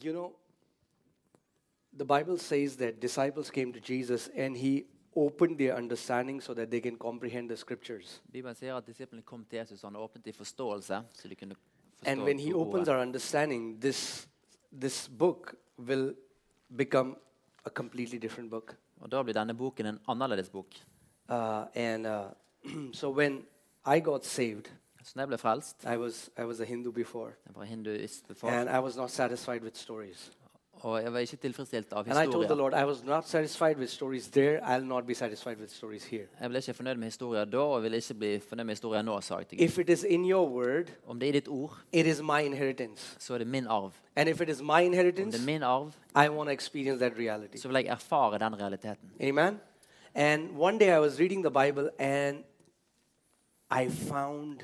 You know, the Bible says that disciples came to Jesus and he opened their understanding so that they can comprehend the scriptures. Bibelen sier at disiplene kom til Jesus, og han åpnet i forståelse. så de kunne forstå And when he ordet. opens our understanding, this, this book will become a completely different book. Og Da blir denne boken en annerledes bok. Uh, and uh, so when I got saved, Så da jeg ble frelst I was, I was a Hindu before, Jeg var hinduist before, and I was not satisfied with stories. og jeg var ikke tilfredsstilt av And I told the historier. Lord, I was not satisfied with stories there, I'll not be satisfied with stories here. Jeg ble ikke fornøyd med historier da, og vil ikke bli fornøyd med historier nå, sa jeg til Gud. If it is in your word, Om det er i ditt ord, it is my inheritance. så er det min arv. And if it is my Om inheritance, det er min arv, I want to experience that reality. så vil jeg erfare den realiteten. Amen. And one day I was reading the Bible and I found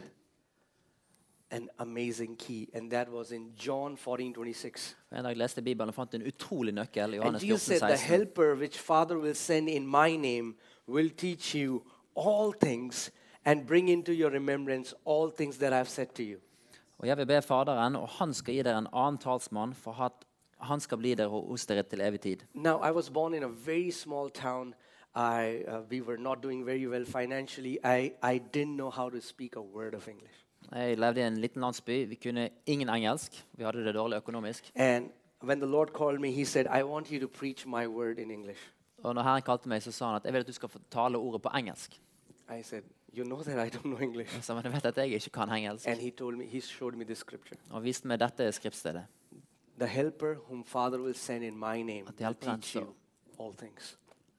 an amazing key, and that was in John 14 26. En dag leste jeg Bibelen og fant en utrolig nøkkel And i Johannes Jesus said, 14, The 16. helper which Father will send in my name will teach you all things and bring into your remembrance all things that I've said to you. Og jeg vil be Faderen, og han skal gi dere en annen talsmann, for at han skal bli dere hos dere til evig tid. Now, I was born in a very small town. I, uh, we were not doing very well financially. I, I didn't know how to speak a word of English. Jeg levde i en liten landsby. Vi kunne ingen engelsk. Vi hadde det dårlig økonomisk. And when the Lord called me, He said, I want you to preach my word in English. Og når Herren kalte meg, så sa han at jeg vil at du skal få tale ordet på engelsk. I said, You know that I don't know English. Jeg sa, men jeg vet at jeg ikke kan engelsk. And He told me, He showed me this scripture Og viste meg dette skriftstedet. The helper whom Father will send in my name Att will hjälpa en teach you så. all things.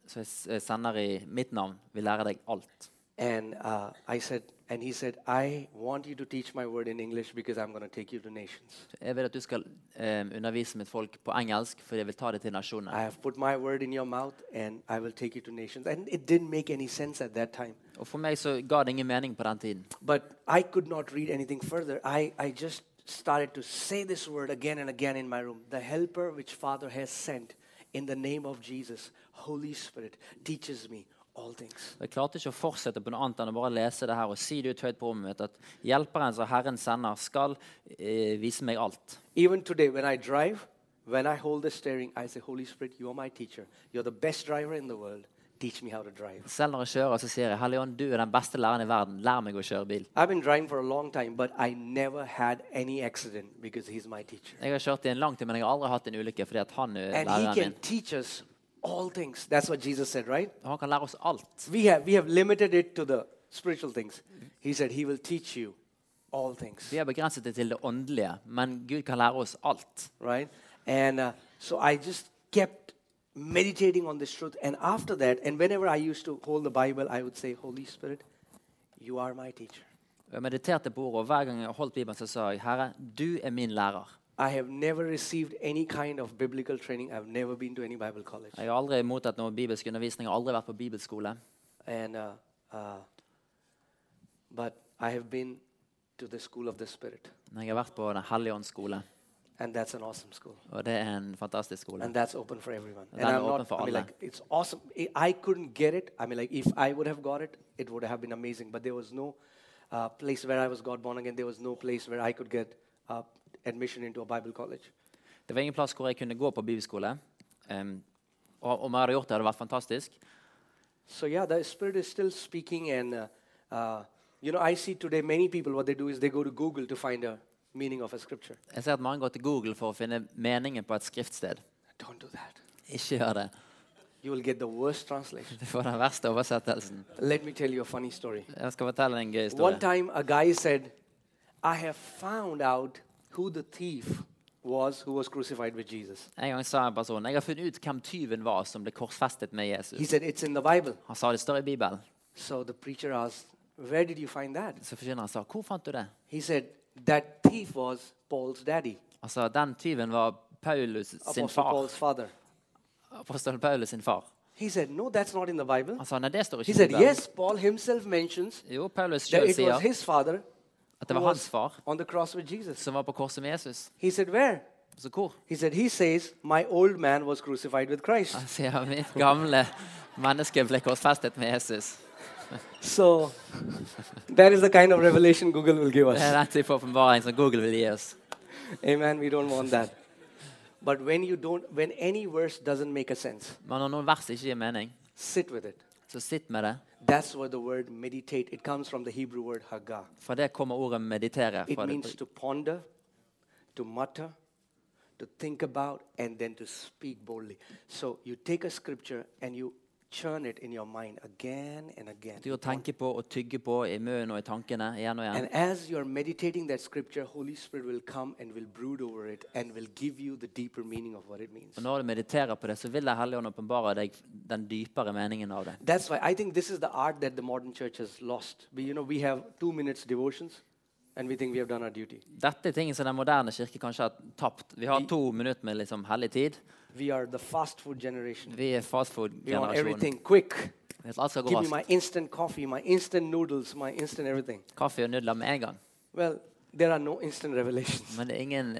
Så jeg s- jeg sender i mitt navn. Vil lære deg alt. And uh, I said, and he said, I want you to teach my word in English because I'm going to take you to nations. Så Jeg vil at du skal eh, undervise mitt folk på engelsk, for jeg vil ta det til nasjonene. I have put my word in your mouth and I will take you to nations. And it didn't make any sense at that time. Og for meg så ga det ingen mening på den tiden. But I could not read anything further. I, I just started to say this word again and again in my room. The helper which Father has sent in the name of Jesus, Holy Spirit, teaches me all things. Og Jeg klarte ikke å fortsette på noe annet enn å bare lese det her og si det ut høyt på rommet mitt at hjelperen som Herren sender, skal eh, vise meg alt. Even today, when I drive, when I hold the steering, I say, Holy Spirit, you are my teacher. You're the best driver in the world. Teach me how to drive. Selv når jeg kjører, så sier jeg Hellige ånd, du er den beste læreren i verden. Lær meg å kjøre bil. I've been driving for a long time, but I never had any accident because he's my teacher. Jeg har kjørt i en lang tid, men jeg har aldri hatt en ulykke fordi at han er And he læreren can min. teach us all things. That's what Jesus said, right? Og Han kan lære oss alt. We have, we have limited it to the spiritual things. He said, He will teach you all things, Vi har begrenset det til det åndelige, men Gud kan lære oss alt. right? And uh, so I just kept meditating on this truth. And after that, and whenever I used to hold the Bible, I would say, Holy Spirit, you are my teacher. Og Jeg mediterte på ordet, og hver gang jeg holdt Bibelen, så sa jeg Herre, du er min lærer. I have never received any kind of biblical training. I've never been to any Bible college. Jeg har aldri mottatt noe bibelsk undervisning, jeg har aldri vært på bibelskole. And uh, uh, but I have been to the school of the Spirit, Men jeg har vært på Den hellige ånds skole, and that's an awesome school, og det er en fantastisk skole. and that's open for everyone. And And that's I'm open not, for I mean, all. like it's awesome. I- I couldn't get it. I mean, like if I would have got it, it would have been amazing. But there was no uh, place where I was God born again. There was no place where I could get uh, admission into a Bible college. Det var ingen plass hvor jeg kunne gå på bibelskole. Em, og om jeg hadde gjort det, hadde det vært fantastisk. So yeah, the Spirit is still speaking, and uh, uh, you know, I see today many people what they do is they go to Google to find a meaning of a scripture. Jeg ser at mange går til Google for å finne meningen på et skriftsted. Don't do that. Ikke gjør det. You will get the worst translation. Du får den verste oversettelsen. Let me tell you a funny story. Jeg skal fortelle en gøy One historie. time, a guy said, I have found out who the thief was who was crucified with Jesus. En gang sa en person jeg har funnet ut hvem tyven var som ble korsfestet med He Jesus. said, It's in the Bible. Han sa det står i Bibelen. So the preacher asked, Where did you find that? Så forkynneren sa hvor fant du det? He said, That thief was Paul's daddy, Han sa den tyven var Paulus sin Apostle far. Paul's father. Apostel Paulus sin far. He said, No, that's not in the Bible. Han sa nei, det står He ikke i said, Bibelen. Yes, Paul himself mentions Jo, Paulus that sjøl it was sier his father at who det var hans was far on the cross with Jesus. som var på korset med Jesus. He said, Where? Så hvor? He said, He says, My old man was crucified with Christ. Han sier mitt gamle menneske ble korsfestet med Jesus. So that is the kind of revelation Google will give Det er us. den type åpenbaring som Google vil gi oss. Amen. We don't want that. But when you don't, when any verse doesn't make a sense, Men når noen vers ikke gir mening, sit with it. så sitt med det. That's where the word meditate. It comes from the Hebrew word haggah. Fra det kommer ordet 'meditere'. It Fra det, means to ponder, to mutter, to think about, and then to speak boldly. So you take a scripture and you churn it in your mind again and again. til å tenke på og tygge på i munnen og i tankene igjen og igjen. And as you're meditating that scripture, Holy Spirit will come and will brood over it and will give you the deeper meaning of what it means. Og når du mediterer på det, så vil Den hellige ånd åpenbare deg den dypere meningen av det. That's why I think this is the art that the modern church has lost. We, you know, we have two minutes devotions and we think we have done our duty. Dette er ting som den moderne kirke kanskje har tapt. Vi har to minutter med liksom hellig tid. We are the fast food generation. Vi er We want fastfood-generasjonen. everything quick. Alt skal gå Give me raskt. my instant coffee, my instant noodles, my instant everything. Kaffe og nudler med en gang. Well, there are no instant revelations. Men det er ingen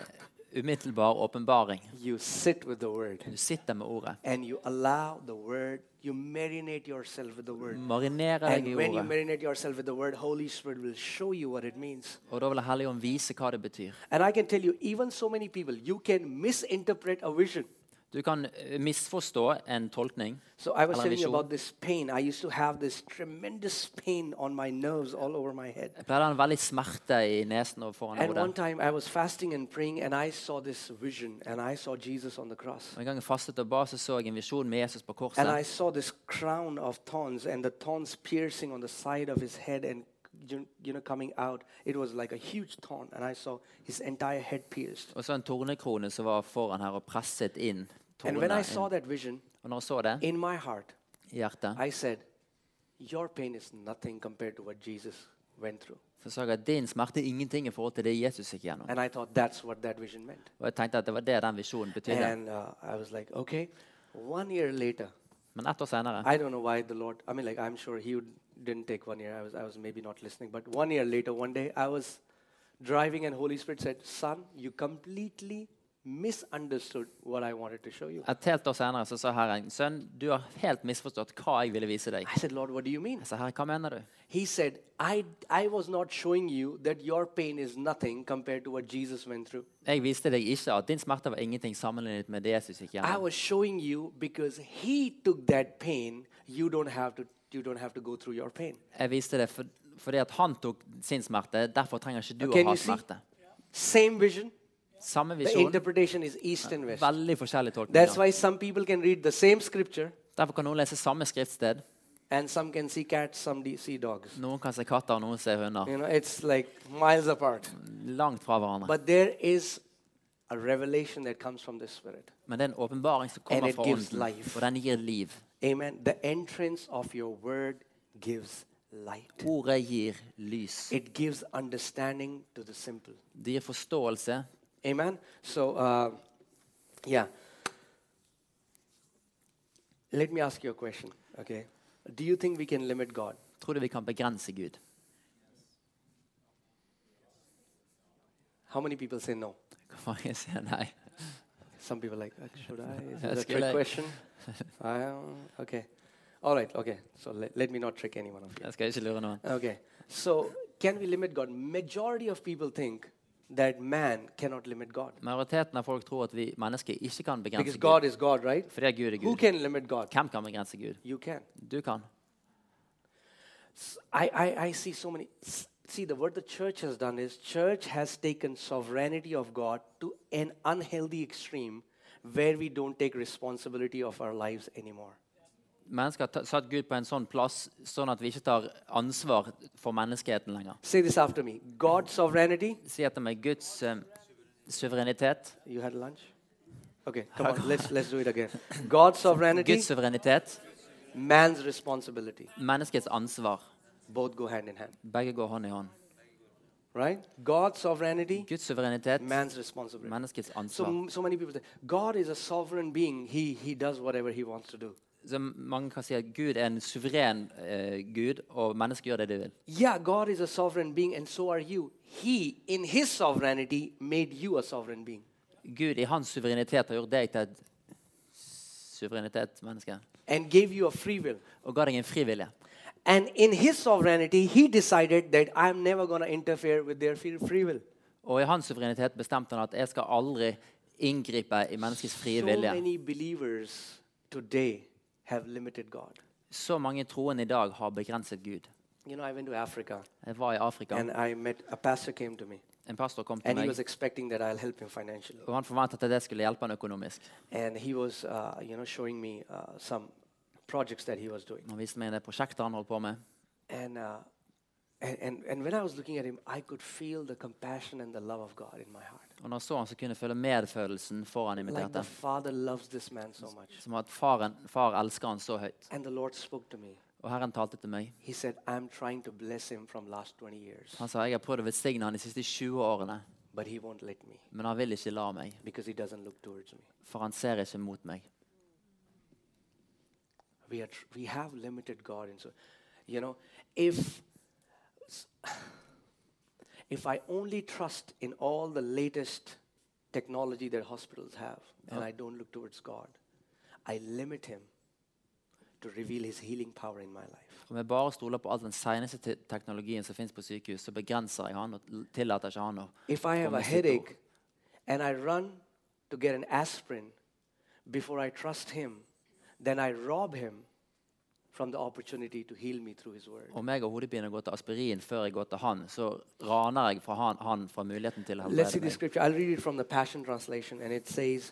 umiddelbar åpenbaring. You sit with the word Du sitter med ordet. and you allow the word, you marinate yourself with the word. Marinerer deg i And when you ordet. marinate yourself with the word, Holy Spirit will show you what it means. Og da vil Den hellige ånd vise hva det betyr. And I can tell you, even so many people, you can misinterpret a vision. Du kan eh, misforstå en tolkning. So I was Eller en telling you visjon. about this pain. I used to have this tremendous pain on my nerves all over my head. Jeg pleide å ha en veldig smerte i nesen og foran And one hodet. time I was fasting and praying and I saw this vision and I saw Jesus on the cross. Og En gang jeg fastet og ba, så så jeg en visjon med Jesus på korset. And I saw this crown of thorns and the thorns piercing on the side of his head and you you know coming out. It was like a huge thorn and I saw his entire head pierced. Og så en tornekrone som var foran her og presset inn. And Tornene when I inn. saw that vision Og når jeg så det in my heart, i hjertet, I said, Your pain is nothing compared to what Jesus went through. så så jeg at din smerte er ingenting i forhold til det Jesus gikk gjennom. And I thought that's what that vision meant. Og jeg tenkte at det var det den visjonen betydde. And uh, I was like, okay. One year later, Men ett år senere I don't know why the Lord. I mean, like I'm sure He would, didn't take one year. I was, I was maybe not listening. But one year later, one day, I was driving, and Holy Spirit said, "Son, you completely misunderstood what I wanted to show you." et helt år senere så sa Herren Sønn, du har helt misforstått hva jeg ville vise deg. I said, "Lord, what do you mean?" Jeg sa, Herre, hva mener du? He said, "I, I was not showing you that your pain is nothing compared to what Jesus went through. Jeg viste deg ikke at din smerte var ingenting sammenlignet med det Jesus gikk I gjennom. was showing you because He took that pain. You don't have to. You don't have to go through your pain." Jeg viste det for, fordi at han tok sin smerte, derfor trenger ikke du Can å you ha see? smerte. Same vision. Samme The visjon, interpretation is east and west. veldig forskjellig That's tolkning. why some people can read the same scripture Derfor kan noen lese samme skriftsted. and some can see cats, some de- see dogs. Noen kan se katter, og noen ser hunder. You know, it's like miles apart. Mm. Langt fra hverandre. But there is a revelation that comes from the Spirit. Men det er en åpenbaring som And kommer it fra gives ånden, life. og den gir liv. Amen. The entrance of your word gives light, Ordet gir lys. it gives understanding to the simple. Det gir forståelse. Amen. So, uh, yeah. Let me ask you a question, okay? Do you think we can limit God? Tror du vi kan begrense Gud? How many people say no? Hvor mange sier nei? Some people are like, "Uh, should I? Is this a Ask trick Eli. question? I, don't- okay. All right, okay. So let, let me not trick anyone of you. Jeg skal ikke lure noen. Okay. So can we limit God? Majority of people think that man cannot limit God. Majoriteten av folk tror at vi mennesker ikke kan Because begrense Gud. God is God, right? Fordi Gud er Who Gud. can limit God? Hvem kan begrense Gud? You can. Du kan. S- I, I, I see so many. s- See, the what the church has done is church has taken sovereignty of God to an unhealthy extreme where we don't take responsibility of our lives anymore. Mennesker har ta- satt Gud på en sånn plass sånn at vi ikke tar ansvar for menneskeheten lenger. Say this after me. God's sovereignty Si at det med Guds eh, suverenitet You had lunch? Okay, come on, let's, let's do it again. God's sovereignty, Guds suverenitet, man's responsibility. menneskets ansvar. Both go hand in hand, Begge går hånd i hånd. right? God's sovereignty, Guds suverenitet, man's responsibility. menneskets So, ansvar. m- so many people say, God is a sovereign being. He, he does whatever he wants to do. Så mange kan si at Gud er en suveren eh, Gud, og mennesker gjør det de vil. Yeah, God is a sovereign being, and so are you. He, in his sovereignty, made you a sovereign being. Gud i hans suverenitet har gjort deg til et suverenitetsmenneske And gave you a free will. og ga deg en frivillig. And in his sovereignty, he decided that I'm never going to interfere with their free free will. Og i hans suverenitet bestemte han at jeg skal aldri inngripe i menneskets frie So vilje. many believers today have limited God. Så mange troende i dag har begrenset Gud. You know, I went to Africa Jeg var i Afrika. and I met a pastor came to me En pastor kom til and he meg, was expecting that I'll help him financially. og han forventet at jeg skulle hjelpe han økonomisk. And he was, uh, you know, showing me uh, some projects that he was doing. Han viste meg en del prosjekter han holdt på med. And, uh, and, and, and when I was looking at him, I could feel the compassion and the love of God in my heart. Og når jeg så han, så kunne jeg føle medfølelsen for han Like the inviterte. Father loves this man so much. Som at faren, far elsker han så høyt. And the Lord spoke to me. Og Herren talte til meg. He said, I'm trying to bless him from last 20 years, Han sa jeg har prøvd å velsigne han de siste 20 årene, but he won't let me men han vil ikke la meg, because he doesn't look towards me. for han ser ikke mot meg. We, are tr- we have limited God. And so, you know, if, if I only trust in all the latest technology that hospitals have and I don't look towards God, I limit him to reveal his healing power in my life. Om jeg bare stoler på all den seneste te teknologien som finnes på sykehus, så begrenser jeg han og l- tillater ikke han å If I have Come a and sit headache and I run to get an aspirin before I trust him, then I rob him from the opportunity to heal me through his word. Om jeg har hodepine og går til aspirin før jeg går til han, så raner jeg fra han, han fra muligheten til å Let's see helbrede the meg. scripture. I'll read it from the Passion Translation, and it says,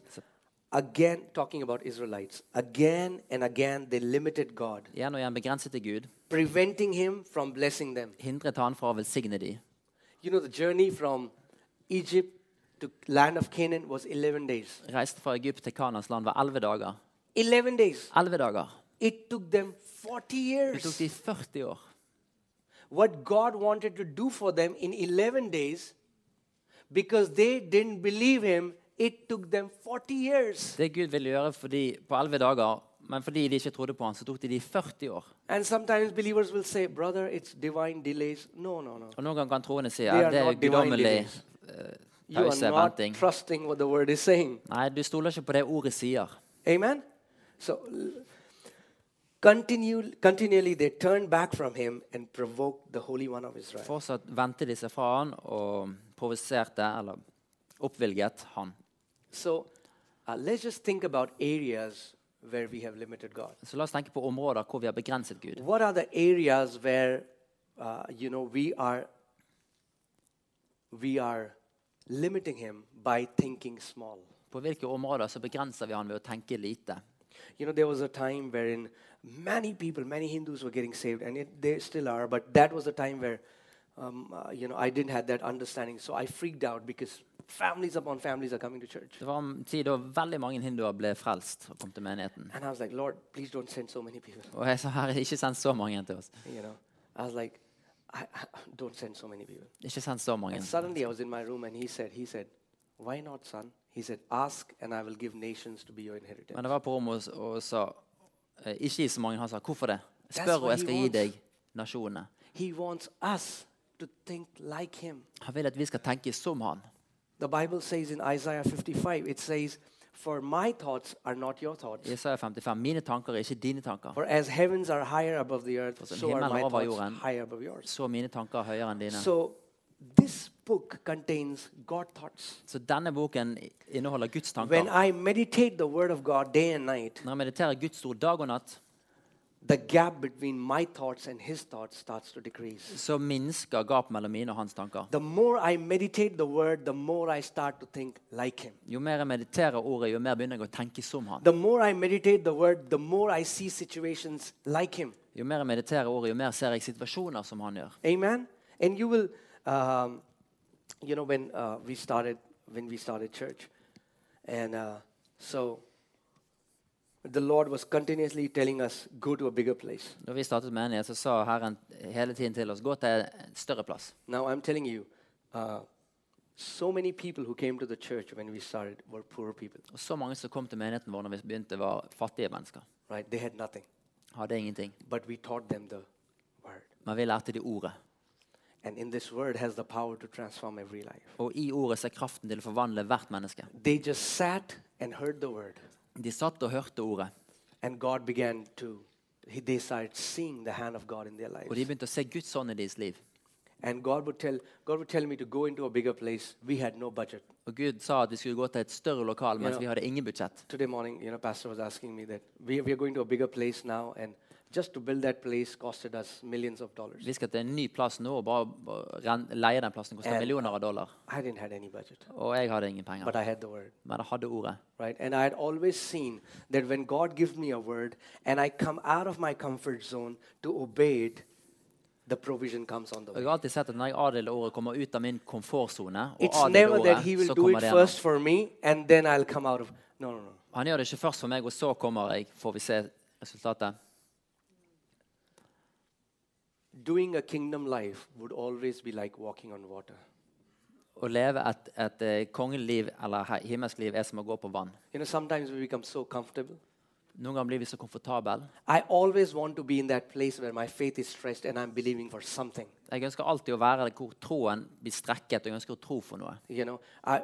again, talking about Israelites, again and again they limited God, Igjen og igjen begrenset til Gud, preventing him from blessing them. hindret han fra å velsigne de. You know, the journey from Egypt to land of Canaan was 11 days. Reiste fra Egypt til Kanas land var elleve dager. 11 days. Elleve dager. It took them 40 Det tok years. de 40 år. What God wanted to do for them in 11 days, because they didn't believe him, it took them 40 years. Det Gud ville gjøre for de på elleve dager, men fordi de ikke trodde på han, så tok det de 40 år. And sometimes believers will say, brother, it's divine delays. No, no, no. Og noen ganger kan troende si They at are det er not uh, divine guddommelig beings. eh, You are pause, not venting. trusting what the word is saying. Nei, du stoler ikke på det ordet sier. Amen? So, l- continue, continually they turned back from him and provoked the Holy One of Israel. Fortsatt vendte de seg fra han og provoserte eller oppvilget han. So, uh, let's just think about areas where we have limited God. Så la oss tenke på områder hvor vi har begrenset Gud. What are the areas where, uh, you know, we are, we are limiting him by thinking small? På hvilke områder så begrenser vi han ved å tenke lite. You know, there was a time wherein many people, many Hindus were getting saved, and it, they still are, but that was a time where, um, uh, you know, I didn't have that understanding. So I freaked out because families upon families are coming to church. Det var en tid da veldig mange hinduer ble frelst og kom til menigheten. And I was like, Lord, please don't send so many people. Og jeg sa herre, ikke send så mange til oss. You know, I was like, I, I- don't send so many people. Ikke send så mange. And suddenly I was in my room, and he said, he said, why not, son? He said, ask, and I will give nations to be your inheritance. Men det var på rommet og, og sa eh, Ikke gi så mange. Han sa hvorfor det? That's Spør, og what jeg he skal gi wants. deg nasjonene. He wants us to think like him. Han vil at vi skal tenke som han. The Bible says in Isaiah 55, it says, For my thoughts are not your thoughts. I Isaiah 55. Mine tanker er ikke dine tanker. For as heavens are higher above the earth, som so are himmelen my over thoughts jorden, higher above yours. Så mine tanker er høyere enn dine. So this book contains God thoughts. Så denne boken inneholder Guds When tanker. I meditate the word of God day and night, Når jeg mediterer Guds ord dag og natt, the gap between my thoughts and his thoughts starts to decrease. så minsker gapet mellom mine og hans tanker. The more I meditate the word, the more I start to think like him. Jo mer jeg mediterer ordet, jo mer begynner jeg å tenke som han. The more I meditate the word, the more I see situations like him. Jo mer jeg mediterer ordet, jo mer ser jeg situasjoner som han gjør. Amen. And you will, um, you know, when uh, we started when we started church, and uh, so the Lord was continuously telling us, "Go to a bigger place." Da vi startet menighet, så sa Herren hele tiden til oss gå til en større plass. Now I'm telling you, uh, so many people who came to the church when we started were poor people, Og så mange som kom til menigheten vår når vi begynte, var fattige mennesker. right? They had nothing, Hadde ingenting. but we taught them the word, Men vi lærte de ordet. and in this word has the power to transform every life. Og i ordet ser kraften til å forvandle hvert menneske. They just sat and heard the word. De satt og hørte ordet, And God began to, he- they started seeing the hand of God in their lives. og de begynte å se Guds ånd i deres liv. And God would tell God would tell me to go into a bigger place. We had no budget. Og Gud sa at vi skulle gå til et større lokal, mens Ja. vi hadde ingen budsjett. Today morning, you know, Pastor was asking me that we, we are going to a bigger place now, and just to build that place costed us millions of dollars. Vi skal til en ny plass nå og bare bare ren- leie den plassen. Koster And- millioner av dollar. I didn't have any budget, Og jeg hadde ingen penger. but I had the word. Men jeg hadde ordet. right? And I had always seen that when God gives me a word and I come out of my comfort zone to obey it, the provision comes on the Og way. jeg har alltid sett at når jeg adlyder ordet, kommer ut av min komfortsone og It's adlyder never ordet, that He will så do kommer it det igjen. first for me and then I'll come out of. No, no, no. Han gjør det ikke først for meg, og så kommer jeg. Får vi se resultatet. Doing a kingdom life would always be like walking on water. Å leve et, et eh, kongeliv eller he- himmelsk liv er som å gå på vann. You know, sometimes we become so comfortable. Noen ganger blir vi så komfortable. I always want to be in that place where my faith is stretched and I'm believing for something. Jeg ønsker alltid å være der hvor troen blir strekket, og jeg ønsker å tro for noe. you know i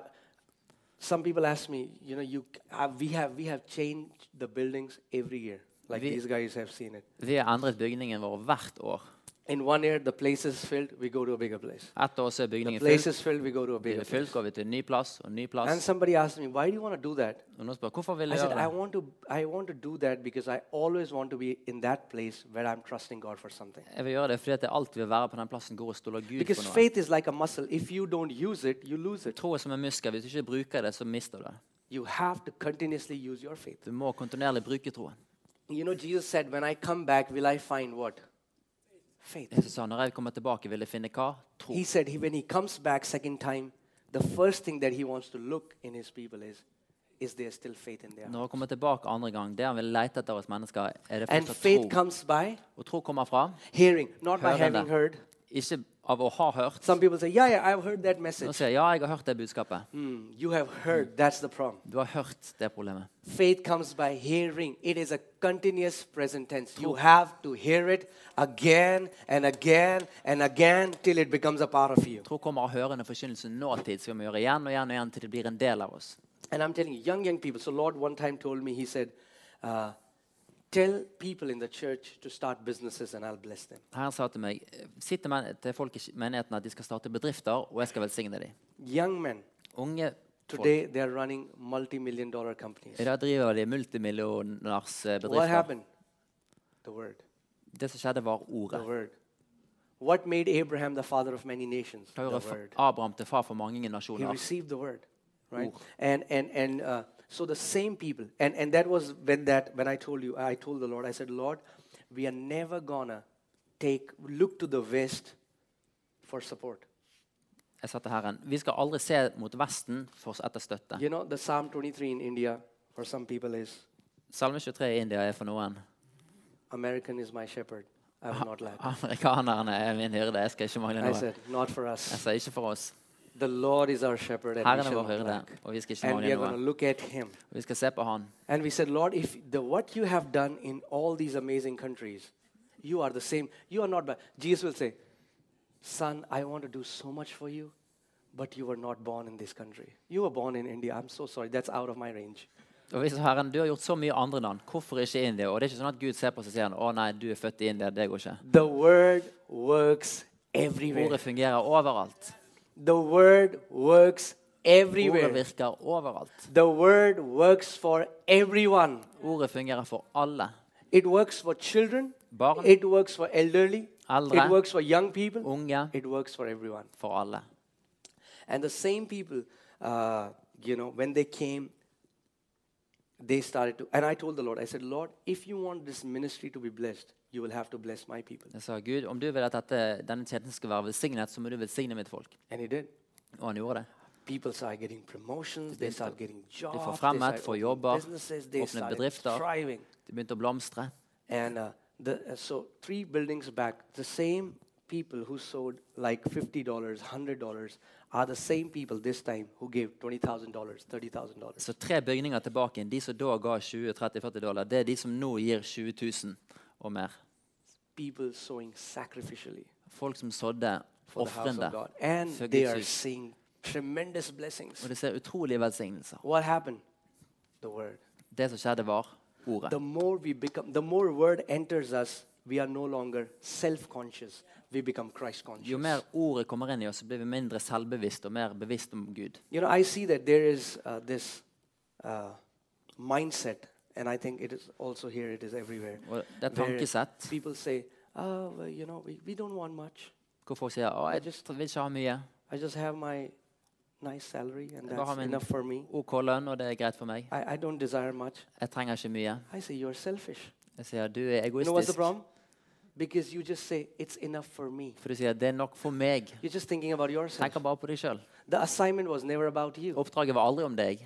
some people ask me you know you uh, we have we have changed the buildings every year like We- these guys have seen it Vi har endret bygningen vår hvert år. in one year the place is filled we go to a bigger place Ett år så er the bygningen place fylt. is filled we go to a Blir bigger det place fylt, går vi til en ny plass og en ny and plass. somebody asked me why do you want to do that Og noen spør hvorfor vil i du said i gjøre det. want to i want to do that because i always want to be in that place where i'm trusting god for something Jeg vil gjøre det fordi at jeg alltid vil være på den plassen hvor jeg stoler Gud because for noe. faith is like a muscle if you don't use it you lose it Tro er som en muskel. Hvis du ikke bruker det, så mister du det. you have to continuously use your faith Du må kontinuerlig bruke troen. you know jesus said when i come back will i find what faith Jesus sa når jeg kommer tilbake, vil jeg finne hva? Tro. He said he, when he comes back second time, the first thing that he wants to look in his people is, is there still faith in their heart? Når han kommer tilbake andre gang, det han vil lete etter hos mennesker, er And det fortsatt faith tro. comes by Og tro kommer fra hearing, not by Hörande. having heard. ikke av å ha hørt. Some people say, yeah, yeah, I've heard that Nå message. sier jeg ja, jeg har hørt det budskapet. Hmm, you have heard, that's the problem. Du har hørt det problemet. Faith comes by hearing. It is a continuous present tense. You have to hear it again and again and again till it becomes a part of you. Tro kommer av hørende forkynnelse nåtid, som vi må gjøre igjen og igjen og igjen til det blir en del av oss. And I'm telling you, young, young people. So, Lord one time told me, He said, uh, Tell people in the church to start businesses and I'll bless them. Herren sa til meg sitt til men- til folk i menigheten at de skal starte bedrifter, og jeg skal velsigne dem. Young men, Unge folk. today they're running multi million dollar companies. I dag driver de What multimillionærsbedrifter. happened? The word. Det som skjedde, var The ordet. word. What made Abraham the father of many nations? Hva The gjorde fa- word. Abraham til far for mange He nasjoner? received the word, right? Ord. And and and uh, so the same people, and and that was when that when I told you, I told the Lord, I said, Lord, we are never gonna take look to the west for support. Jeg sa til Herren, vi skal aldri se mot Vesten for etter støtte. You know, the Psalm 23 in India for some people is Salme 23 i India er for noen. American is my shepherd. I Ah, will not lack. Amerikanerne er min hyrde, jeg skal ikke mangle I noe. said, not for Jeg us. sa ikke for oss. The Lord is our shepherd, and we Herren er shall vår not hyrde, lack. og vi skal ikke And we mangle are going to noe. look at Him. Vi skal se på Han. And we said, Lord, if the what you have done in all these amazing countries, you are the same. You are not. By, Jesus will say, Son, I want to do so much for you, but you were not born in this country. You were born in India. I'm so sorry. That's out of my range. Og vi sa, Herren, du har gjort så mye andre land, hvorfor ikke India? Og det er ikke sånn at Gud ser på oss og sier han, å nei, du er født i India, det går ikke. The word works everywhere. Ordet fungerer overalt. The word works Ordet everywhere. virker overalt. The word works for everyone. Ordet fungerer for alle. It works for children. Barn, It works for elderly. Eldre. It works for young people. unge, It works for everyone. for alle. And the same people, uh, you know, when they came, they started to. And I told the Lord, I said, Lord, if you want this ministry to be blessed, you will have to bless my people. Jeg sa, Gud, om du vil at dette, denne tjenesten skal være velsignet, så må du velsigne mitt folk. And He did. Og han gjorde det. People started getting promotions, they started getting jobs, får they framåt, started får opening jobber, businesses, they öppnar started bedrifter. thriving. De begynte å blomstre. And uh, the, uh, so three buildings back, the same people who sold like $50, $100 are the same people this time who gave $20,000, $30,000. Så tre bygninger tilbake igjen. De som da ga 20-30-40 dollar, det er de som nå gir 20 000 og mer. People sowing sacrificially Folk som sådde for the house ofrende. of God. And för they Guds are hus. seeing tremendous blessings. Og det ser utrolige velsignelser. What happened? The word. Det som skjedde, var ordet. The more we become, the more word enters us, we are no longer self conscious, we become Christ conscious. Jo mer ordet kommer inn i oss, så blir vi mindre selvbevisst og mer bevisst om Gud. You know, I see that there is uh, this uh, mindset, and I think it is also here, it is everywhere. Og det er et where tankesett People say, oh, well, you know, we, we don't want much. hvor folk sier å, jeg Just- vil ikke ha mye. I just have my nice salary, and Bara ha that's min- enough for me. OK lønn, og det er greit for meg. I, I don't desire much. Jeg trenger ikke mye. I say, you're selfish. Jeg sier du er You know what's the egoistisk. problem? Because you just say, it's enough for me. For du sier det er nok for meg. You're just thinking about yourself. Tenker bare på deg sjøl. The assignment was never about you. Oppdraget var aldri om deg.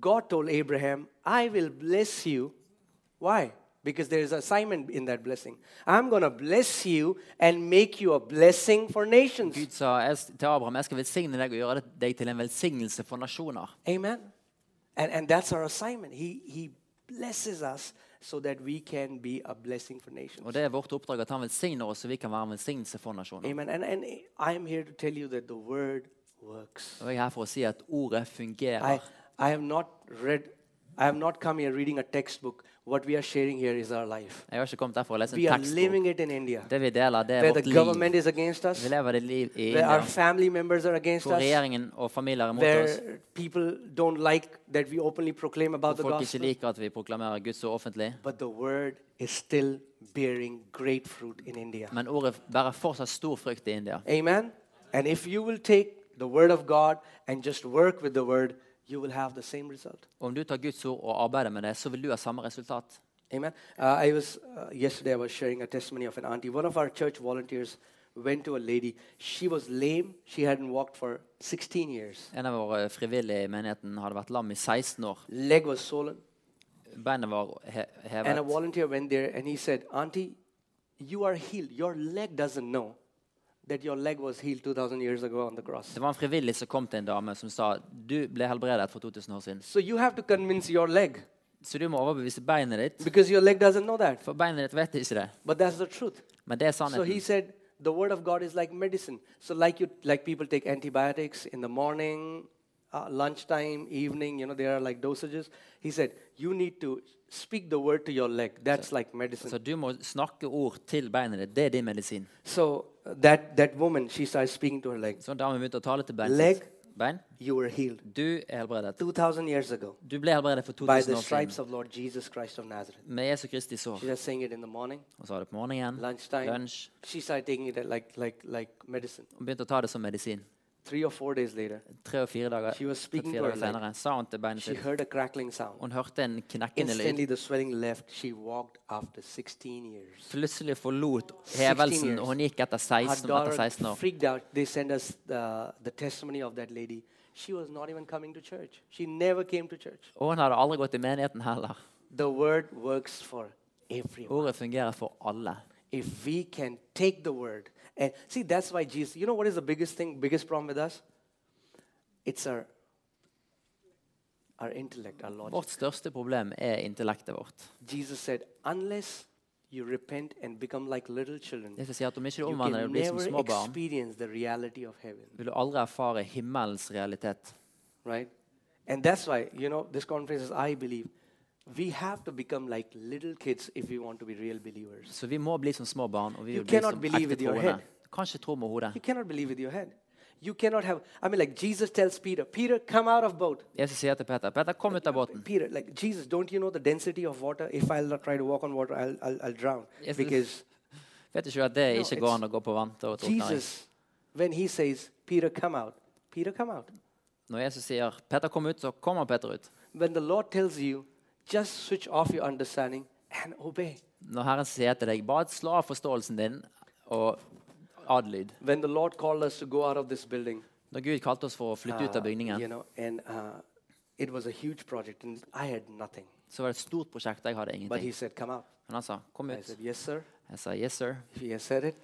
God told Abraham, I will bless you. Why? Because there is assignment in that blessing. I'm going to bless you and make you a blessing for nations. Gud sa jeg, s- til Abraham jeg skal velsigne deg og gjøre det- deg til en velsignelse for nasjoner. Amen. And, and that's our assignment. He, he blesses us so that we can be a blessing for nations. Og det er vårt oppdrag at han velsigner oss, så vi kan være en velsignelse for nasjoner. Amen. And, and I'm here to tell you that the word works. Og jeg er her for å si at ordet I, fungerer. I have not read, I have not come here reading a textbook. What we are sharing here is our life. Jeg har ikke kommet her for å lese en We are tekstbok. living it in India, Det vi deler, det where er the vårt liv. government is against us. Vi lever det liv i where our India, family members are against hvor us, regjeringen og familier er mot oss. where people don't like that we openly proclaim about the Folk ikke gospel. liker at vi proklamerer Gud så offentlig. But the word is still bearing great fruit in India. Men ordet bærer fortsatt stor frukt i India. Amen? And if you will take the word of God and just work with the word, you will have the same result. Om du tar Guds ord og arbeider med det, så vil du ha samme resultat. Amen. Uh, I was uh, yesterday. I was sharing a testimony of an auntie. One of our church volunteers went to a lady. She was lame. She hadn't walked for 16 years. En av våre frivillige i menigheten hadde vært lam i 16 år. Leg was swollen. Beinet var he And a hevet. volunteer went there and he said, Auntie, you are healed. Your leg doesn't know that your leg was healed 2,000 years ago on the cross. Det var en frivillig som kom til en dame som sa du ble helbredet for 2000 år siden. So you have to convince your leg Så du må overbevise beinet ditt, because your leg doesn't know that. for beinet ditt vet ikke det. But that's the truth. Men det er So he sannheten. said, the word of God is like medicine. So like you, like people take antibiotics in the morning, uh, lunchtime, evening. You know there are like dosages. He said you need to speak the word to your leg. That's like medicine. Så du må snakke ord til beinet ditt. Det er din medisin. So uh, that that woman, she started speaking to her leg. Så en dame begynte å tale til beinet Leg. sitt. Bein, You were healed du er helbredet. 2,000 years ago. Du ble helbredet for by 2000 the år siden. stripes of Lord Jesus Christ of Nazareth. Med Jesu Kristi sår. She just saying it in the morning, Og så var det på morgenen, lunchtime. lunsj, She started taking it like like like medicine. og begynte å ta det som medisin. Three or four days later, Tre og fire dager, She was tre, speaking fire to dager her leg. senere sa hun til beinet she sitt heard a crackling sound. Hun hørte en knekkende lyd. Instantly, the swelling left. She walked after 16 years. Plutselig forlot 16 hevelsen, years. og hun gikk etter Her 16, etter daughter 16 år. freaked out. They sent us the, the testimony of that lady. She was not even coming to church. She never came to church. Og hun hadde aldri gått i menigheten heller. The word works for everyone. Ordet fungerer for alle. if we can take the word and see that's why jesus you know what is the biggest thing biggest problem with us it's our our intellect our logic Vårt største problem er intellektet vårt. jesus said unless you repent and become like little children Jesus sier at om ikke du you omvender deg can og blir som never små barn, experience the reality of heaven vil du aldri erfare himmelens realitet. right and that's why you know this conference is i believe we have to become like little kids if we want to be real believers Så vi må bli som små barn, og vi You vil bli cannot som believe ekte with your troende. head. Du kan ikke tro med hodet. you cannot believe with your head you cannot have i mean like jesus tells peter peter come out of boat Jesus sier til Peter, Peter, kom ut av båten. Peter, like Jesus, don't you know the density of water? If I'll not try to walk on water, I'll, I'll, I'll drown. Yes, because Vet ikke du at det No, ikke it's- går an å gå på vann til å drukne? i? Jesus, when he says, Peter, come out, Peter, come out. Når Jesus sier 'Peter, kom ut', så kommer Peter ut. When the Lord tells you, just switch off your understanding and obey. Når Herren sier til deg 'Bare slå av forståelsen din og adlyd'. When the Lord called us to go out of this building, Når Gud kalte oss for å flytte uh, ut av you bygningen, know, and uh, it was a huge project, and I had nothing. så var det et stort prosjekt. Jeg hadde But he ingenting. said, come out. Men han sa 'Kom I ut'. said, yes, sir. Jeg sa 'Yes, sir'. If he has said it,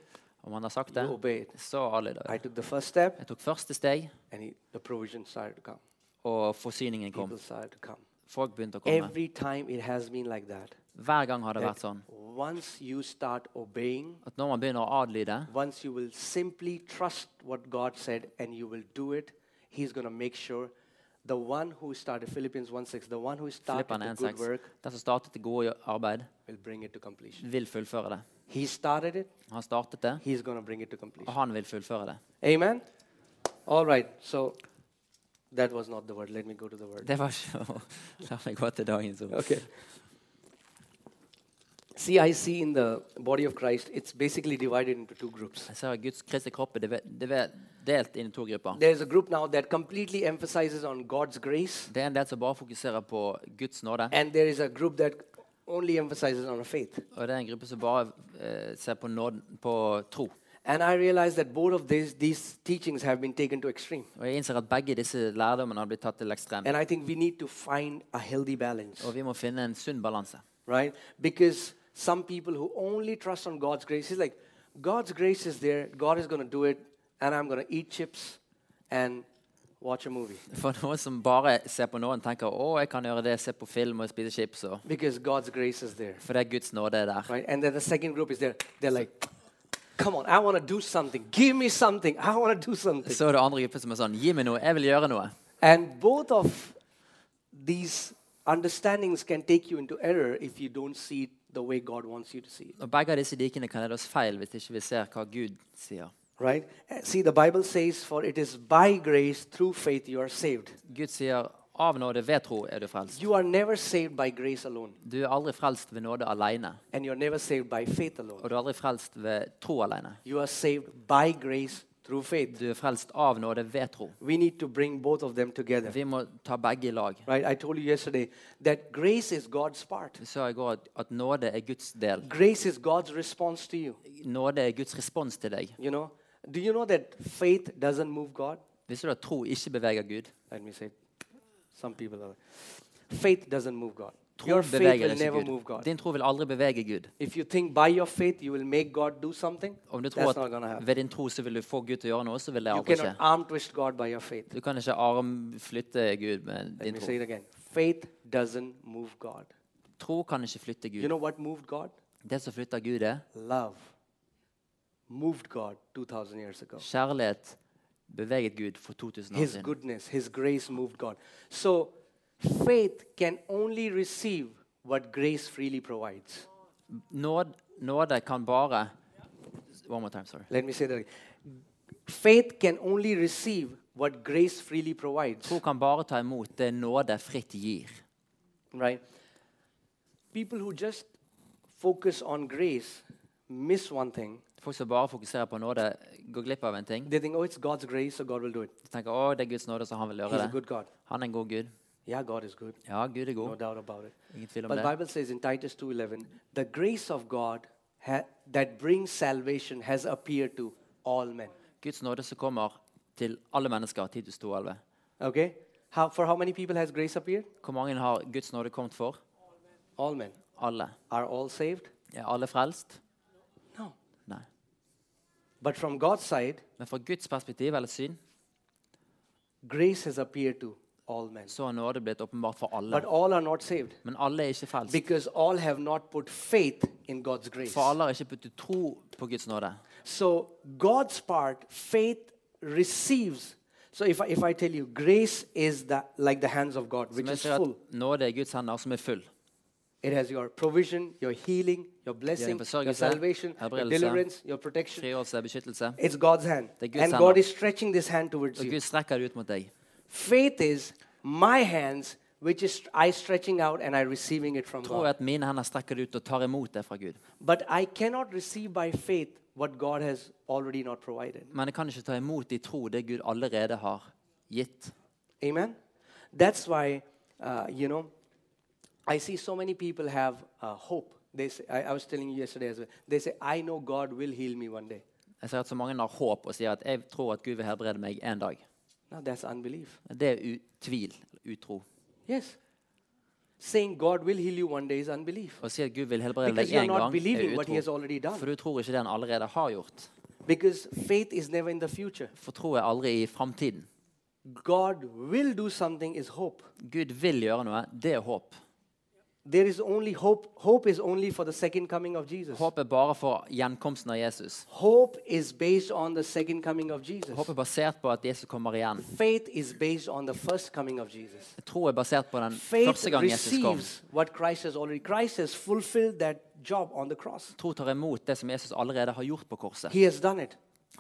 Om han har sagt you det, obey it. så adlyder I jeg. took the first step, Jeg tok første steg, and he, the provision started to come. og forsyningen kom. People started to come. Folk begynte å komme. Every time it has been like that. Hver gang har det that vært sånn Once you start obeying, at når man begynner å adlyde, once you will simply trust what God said and you will do it, He's going to make sure The one who started Philippians 1:6, the one who started Filipperne the good 1,6. work Den som startet det gode arbeid, will bring it to completion. vil fullføre det. He started it, Han startet det, he's going to bring it to og completion. han vil fullføre det. Amen. All right. So that was not the word. Let me go to the word. Det var ikke La meg gå til dagens ord. Okay. See, I see in the body of Christ, it's basically divided into two groups. Jeg ser at Guds Kristi kropp er dive- dive- delt inn i to grupper. There's a group now that completely emphasizes on God's grace, Det er en del som bare fokuserer på Guds nåde, and there is a group that only emphasizes on faith. og det er en gruppe som bare eh, ser på, nåd, på tro. And I realize that both of these, these teachings have been taken to extreme. Og Jeg innser at begge disse lærdommene har blitt tatt til ekstrem. And I think we need to find a healthy balance, Og vi må finne en sunn balanse. right? Because some people who only trust on God's grace is like, God's grace is there, God is going to do it, and I'm going to eat chips and watch a movie. For noen som bare ser på noen, tenker 'Å, jeg kan gjøre det, se på film og spise chips', og Because God's grace is there, For det er Guds nåde er der. right? And then the second group is there, they're like, come on, I want to do something. Give me something. I want to do something. Så er det andre grupper som er sånn 'Gi meg noe, jeg vil gjøre noe'. And both of these understandings can take you into error if you don't see it the way God wants you to see it. Og begge av disse dikene kan lede oss feil hvis ikke vi ser hva Gud sier. Right? Uh, See, the Bible says, For it is by grace through faith you are saved. Gud sier 'Av nåde ved tro er du frelst'. You are never saved by grace alone, Du er aldri frelst ved nåde alene. and you're never saved by faith alone. Og du er aldri frelst ved tro alene. You are saved by grace through faith. Du er frelst av nåde ved tro. We need to bring both of them together. Vi må ta begge i lag. Right? I told you yesterday that grace is God's part, Vi så i går at, at nåde er Guds del. grace is God's response to you. Nåde er Guds respons til deg. You know, do you know that faith doesn't move God? Visste du at tro ikke beveger Gud? Let me say, some people are. Faith doesn't move God. Tro Your faith beveger will ikke never move Gud. God. Din tro vil aldri bevege Gud. If you think by your faith you will make God do something, Om du tror that's not going to at happen. ved din tro så vil du få Gud til å gjøre noe, så vil det You aldri skje. cannot arm twist God by your faith. Du kan ikke armflytte Gud med Let din me tro. say it again. Faith doesn't move God. Tro kan ikke flytte Gud. You know what moved God? Det som flytter Gud, er Love moved God 2,000 years ago. kjærlighet beveget Gud for 2000 år His siden. goodness, His grace moved God. So faith can only receive what grace freely provides. Nåd, nåde kan bare One more time, sorry. Let me say that again. Faith can only receive what grace freely provides. Tro kan bare ta imot det nåde fritt gir. Right? People who just focus on grace miss one thing. Folk som bare fokuserer på nåde, går glipp av en ting. They think, oh, it's God's grace, so God will do it. De tenker å, det er Guds nåde, så han vil He's a gjøre det. good God. Han er en god Gud. Yeah, God is good. Ja, Gud er No god. doubt about it. Ingen tvil om But the det. Bible says in Titus 2:11, the grace of God ha- that brings salvation has appeared to all men. Guds nåde som kommer til alle mennesker, Titus 2,11. Okay? How, for how many people has grace appeared? Hvor mange har Guds nåde kommet for? All men. Alle. Are all saved? Er alle frelst? No. Nei. But from God's side, Men fra Guds perspektiv eller syn grace has appeared to all men. så har nåde blitt åpenbart for alle. But all are not saved Men alle er ikke frelst. because all have not put faith in God's grace. For alle har ikke puttet tro på Guds nåde. So God's part, faith receives. So if I, if I tell you, grace is the, like the hands of God, which Som jeg is sier full. at nåde er Guds hender, som er full. It has your provision, your healing, your blessing, your försörjelse, salvation, your helbredelse, deliverance, your protection. Frigjørelse, beskyttelse. It's God's hand. Det är Guds And hand. God is stretching this hand towards Og you. Gud strekker det ut mot deg. Faith is my hands, which is I stretching out and I receiving it from Tro er God. at mine hender strekker det ut og tar imot det fra Gud. But I cannot receive by faith what God has already not provided. Men jeg kan ikke ta imot i tro det Gud allerede har gitt. Amen. That's why, uh, you know, I see so many people have uh, hope. They say, I, I was telling you yesterday as well. They say, "I know God will heal me one day." Jeg ser at så mange har håp og sier at jeg tror at Gud vil helbrede meg en dag. Now that's unbelief. Det er u tvil, utro. Yes. Saying God will heal you one day is unbelief Å si at Gud vil helbrede because deg you're en not gang, believing er what He has utro. already done. For du tror ikke det han allerede har gjort. Because faith is never in the future. For tro er aldri i framtiden. God will do something is hope. Gud vil gjøre noe. Det er håp. There is only hope. Hope is only for the second coming of Jesus. Håp er bare for gjenkomsten av Jesus. Hope is based on the second coming of Jesus. Håp er basert på at Jesus kommer igjen. Faith is based on the first coming of Jesus. Tro er basert på den Faith første gang Jesus kom. receives what Christ has already. Christ has fulfilled that job on the cross. Tro tar imot det som Jesus allerede har gjort på korset. He has done it.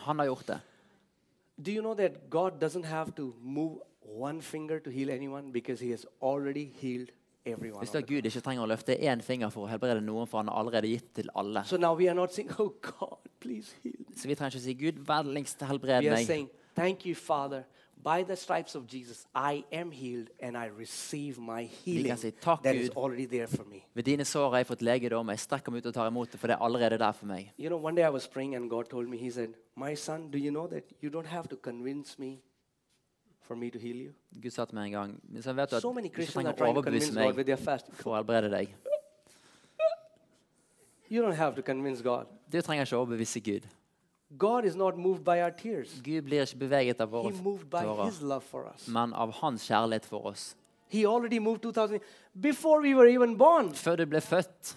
Han har gjort det. Do you know that God doesn't have to move one finger to heal anyone because He has already healed everyone. Visste du at Gud ikke trenger å løfte én finger for å helbrede noen, for han har allerede gitt til alle. So now we are not saying, "Oh God, please heal." Så vi trenger ikke si 'Gud, vennligst helbred We are meg'. saying, "Thank you, Father. By the stripes of Jesus, I am healed, and I receive my healing say, "Takk, that is Gud." already there for me." Ved dine sår har jeg fått legedom. Jeg strekker meg ut og tar imot det, for det er allerede der for meg. You know, one day I was praying, and God told me, He said, "My son, do you know that you don't have to convince me for me to heal you?" Gud sa til meg en gang Men så vet du at So du many ikke Christians are trenger trying å to overbevise convince God meg with their fasting. for å helbrede deg. You don't have to convince God. Du trenger ikke å overbevise Gud. God is not moved by our tears. Gud blir ikke beveget av He våre moved by tårer, His love for us. men av hans kjærlighet for oss. He already moved 2000 before we were even born. Før du ble født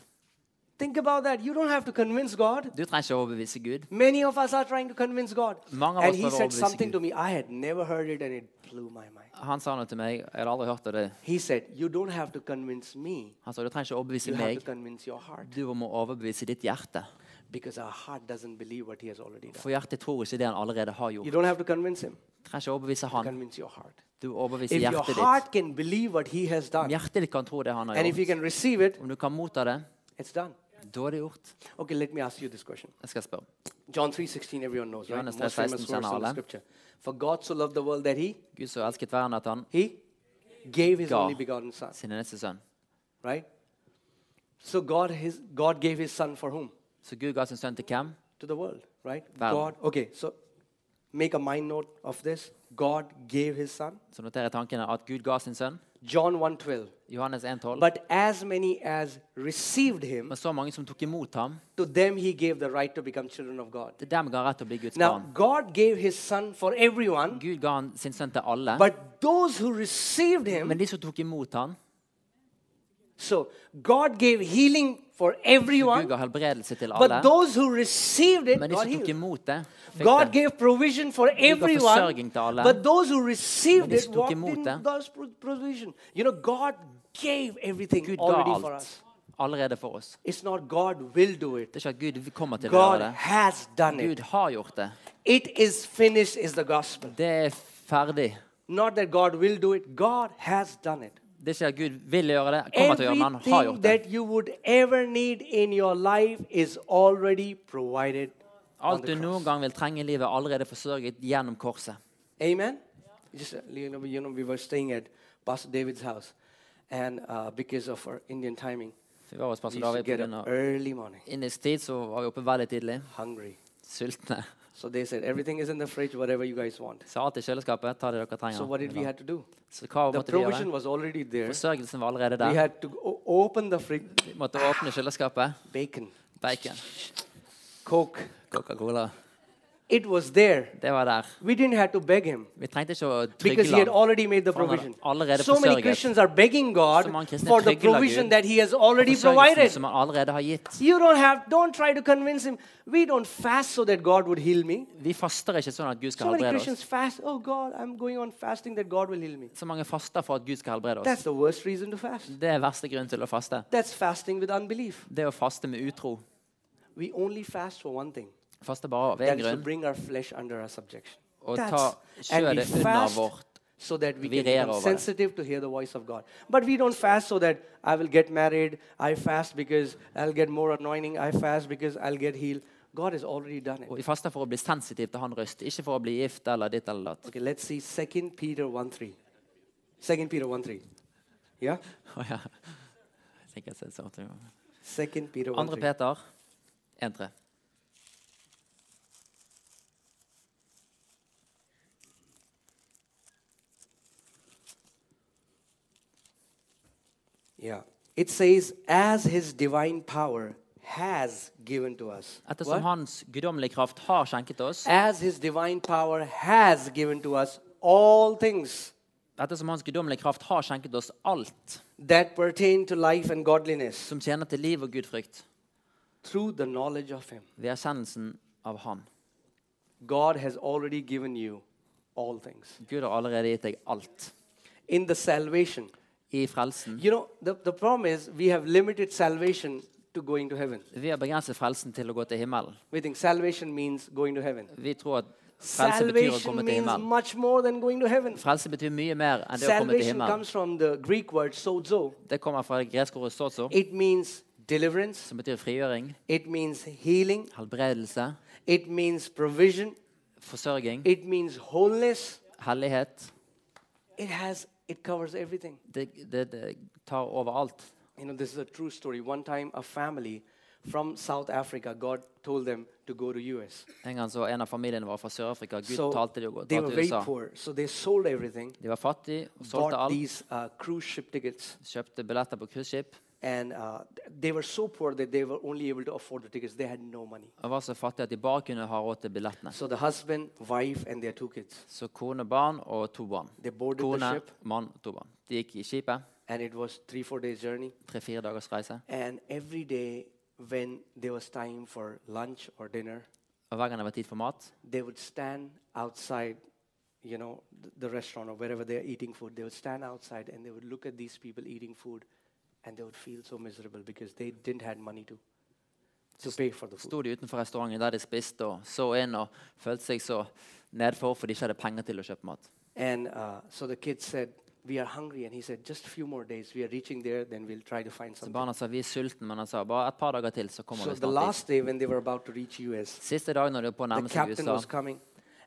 Think about that. You don't have to convince God. Du trenger ikke å overbevise Gud. Many of us are trying to convince God. Mange av and oss He prøver å said overbevise something Gud. to me. I had never heard it, and it blew my mind. Han sa noe til meg, jeg hadde aldri hørt av det. He said, "You don't have to convince me. Han sa du trenger ikke å You overbevise have to meg, convince your heart, du må overbevise ditt hjerte. because our heart doesn't believe what He has already done. For hjertet tror ikke det han allerede har You gjort. don't have to convince Him. Du trenger ikke å overbevise han, Convince your heart. du overbeviser If your hjertet ditt. heart can believe what He has done, Hjertet ditt kan tro det han har and if you gjort. can receive it, Om du kan motta det, it's done. da er det gjort. Okay, let me ask you this question. Jeg skal spørre. John 3:16 everyone knows, right? Johannes Most famous 3:16 verse in the alle. scripture. For God so loved the world that he Gud så elsket verden at han he gave his Ga. only begotten son, sin eneste sønn. right? So God his God gave his son for whom? Så Gud ga sin sønn til hvem? To the world, right? Val. God. Okay, so make a mind note of this. God gave his son. Så noterer jeg tanken at Gud ga sin sønn. John 1:12. Johannes 1,12. But as many as received him, Men så mange som tok imot ham, to them he gave the right to become children of God. til dem ga han rett til å bli Guds Now barn. God gave his son for everyone, Gud ga han sin sønn til alle. but those who received him Men de som tok imot ham, So God gave healing for Gud everyone, ga helbredelse til alle. but those who received it Men de got som tok healed. imot det, God fikk det. gave provision for everyone, försörjning till alla. but those who received Men de it som tog walked emot in det. God's pro- provision. You know, God gave everything Gud ga already for us. alt allerede for oss. It's not God will do it. Det er ikke at Gud kommer til å God gjøre det. has done it. Gud har gjort det. It is finished is the gospel. Det er ferdig. Not that God will do it. God has done it. Det er ikke at Gud vil gjøre det, kommer til å gjøre det, men han har Everything gjort det. that you would ever need in your life is already provided. on Alt the du cross. noen gang vil trenge i livet, er allerede forsørget gjennom korset. Amen. Just uh, you know, you know, we were staying at Pastor David's house, and uh, because of our Indian timing, Vi var hos we pastor used to David på get grunn up av early morning, indisk tid, så var vi oppe veldig tidlig. hungry. Sultne. So they said everything is in the fridge, whatever you guys want. Så alt i kjøleskapet, ta det dere So what did we trenger. have to do? Så hva The måtte vi gjøre? provision was already there. Forsørgelsen var allerede We der. had to o- open the fridge, Vi måtte åpne kjøleskapet. bacon, Bacon, Coke. Coca-Cola. It was there. Det var der. We didn't have to beg him Vi trengte ikke å because he trygle had ham. already made the For han hadde provision. allerede So many försörjat. Christians are begging God Så många kristna for the tryggar Gud. provision that he has already Forsørgelsen provided. som han allerede har gitt. You don't have, don't try to convince him. We don't fast so that God would heal me. Vi faster ikke sånn at Gud So skal many helbrede oss. Christians fast, oh God, I'm going on fasting that God will heal me. Så mange faster for at Gud skal helbrede oss. That's the worst reason to fast. Det er verste grunn til å faste. That's fasting with unbelief. Det å faste med utro. We only fast for one thing Faste bare av that én is to grunn. bring our flesh under our subjection. Og ta That's, and we kjødet under fast vårt. so that we Vi can regerer become over det. sensitive to hear the voice of God. But we don't fast so that I will get married. I fast because I'll get more anointing. I fast because I'll get healed. God has already done it. Og vi faster for å bli sensitiv til han røst, ikke for å bli gift eller ditt eller datt. Okay, let's see 2 Peter 1 3. 2 Peter 1 3. Yeah? Å, ja. Jeg tenker jeg ser sånn ut. 2 Peter 1 Andre 3. Peter 1-3. Yeah. It says, as his divine power has given to us. Ettersom What? hans guddommelige kraft har skjenket oss, As his divine power has given to us all things ettersom Hans guddommelige kraft har skjenket oss alt that pertain to life and godliness som tjener til liv og gudfrykt, through the knowledge of Him. ved erkjennelsen av Han. God has already given you all things. Gud har allerede gitt deg alt. In the salvation, I frelsen. you know, the, the problem is we have limited salvation to going to heaven. Vi har begrenset frelsen til å gå til himmelen. We think salvation means going to heaven. Vi tror at frelse betyr å Salvation komme til means himmelen. much more than going to heaven. Frelse betyr mye mer enn det å komme til Salvation himmelen. comes from the Greek word sozo. Det kommer fra det greske ordet sozo, It means deliverance, som betyr frigjøring, it means healing, helbredelse, it means provision, forsørging, it means wholeness. hellighet. It has it covers everything. Det, det, det tar overalt. You know, this is a true story. One time a family from South Africa, God told them to go to US. En gang så en av familiene var fra Sør-Afrika. Gud So talte de å gå they dra were til very USA. poor. So they sold everything, De var fattige og solgte bought alt. these uh, cruise ship tickets. Kjøpte billetter på cruiseskip. And uh, th- they were so poor that they were only able to afford the tickets. They had no money. Og var så fattige at de bare kunne ha råd til billettene. So the husband, wife, and their two kids, Så kone, barn og to barn. they boarded Kone, the ship, mann og to barn. De gikk i skipet. and it was three, four days journey. Tre-fire dagers reise. And every day when there was time for lunch or dinner, Og hver gang det var tid for mat, they would stand outside, you know, th- the restaurant or wherever they're eating food. They would stand outside and they would look at these people eating food and they would feel so miserable because they didn't have money to, to pay for the food. sto de utenfor restauranten der de spiste, og så inn og følte seg så nedfor for de ikke hadde penger til å kjøpe mat. And uh, so the kids said, We are hungry. And he said, Just a few more days. We are reaching there, then we'll try to find Så something. barna sa vi er sultne, men han sa bare et par dager til, så kommer So vi the snart dit. last day when they were about to reach US, Siste dag når de var på å the nærme seg captain USA, was coming.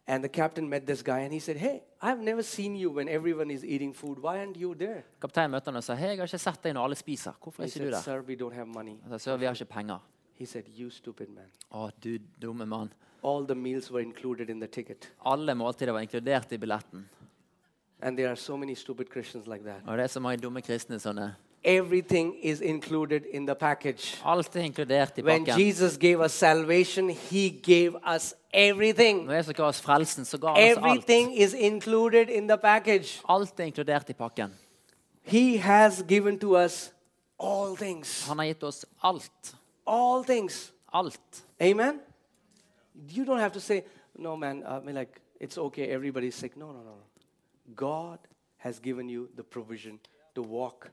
And the captain met this guy and he said, Hey, I've never seen you when everyone is eating food. Why aren't you there? kapteinen møtte han og sa hei, jeg har ikke sett deg når alle spiser. Hvorfor He er ikke du said, der? Sir, we don't have money. Han sa sør, vi har ikke penger. He said, You stupid man. Å, du dumme mann. All the meals were included in the ticket. Alle måltider var inkludert i billetten. And there are so many stupid Christians like that. Og det er så mange dumme kristne sånn eh, Everything is included in the package. Alt er inkludert i When pakken. Jesus gave us salvation, he gave us everything. Når Jesus ga oss frelsen, så ga han oss alt. Everything is included in the package. Alt er inkludert i pakken. He has given to us all things. Han har gitt oss alt. All things. Alt. Amen? You don't have to say, no, man, I mean, like, it's okay, everybody's sick. No, no, no, no. God has given you the provision to walk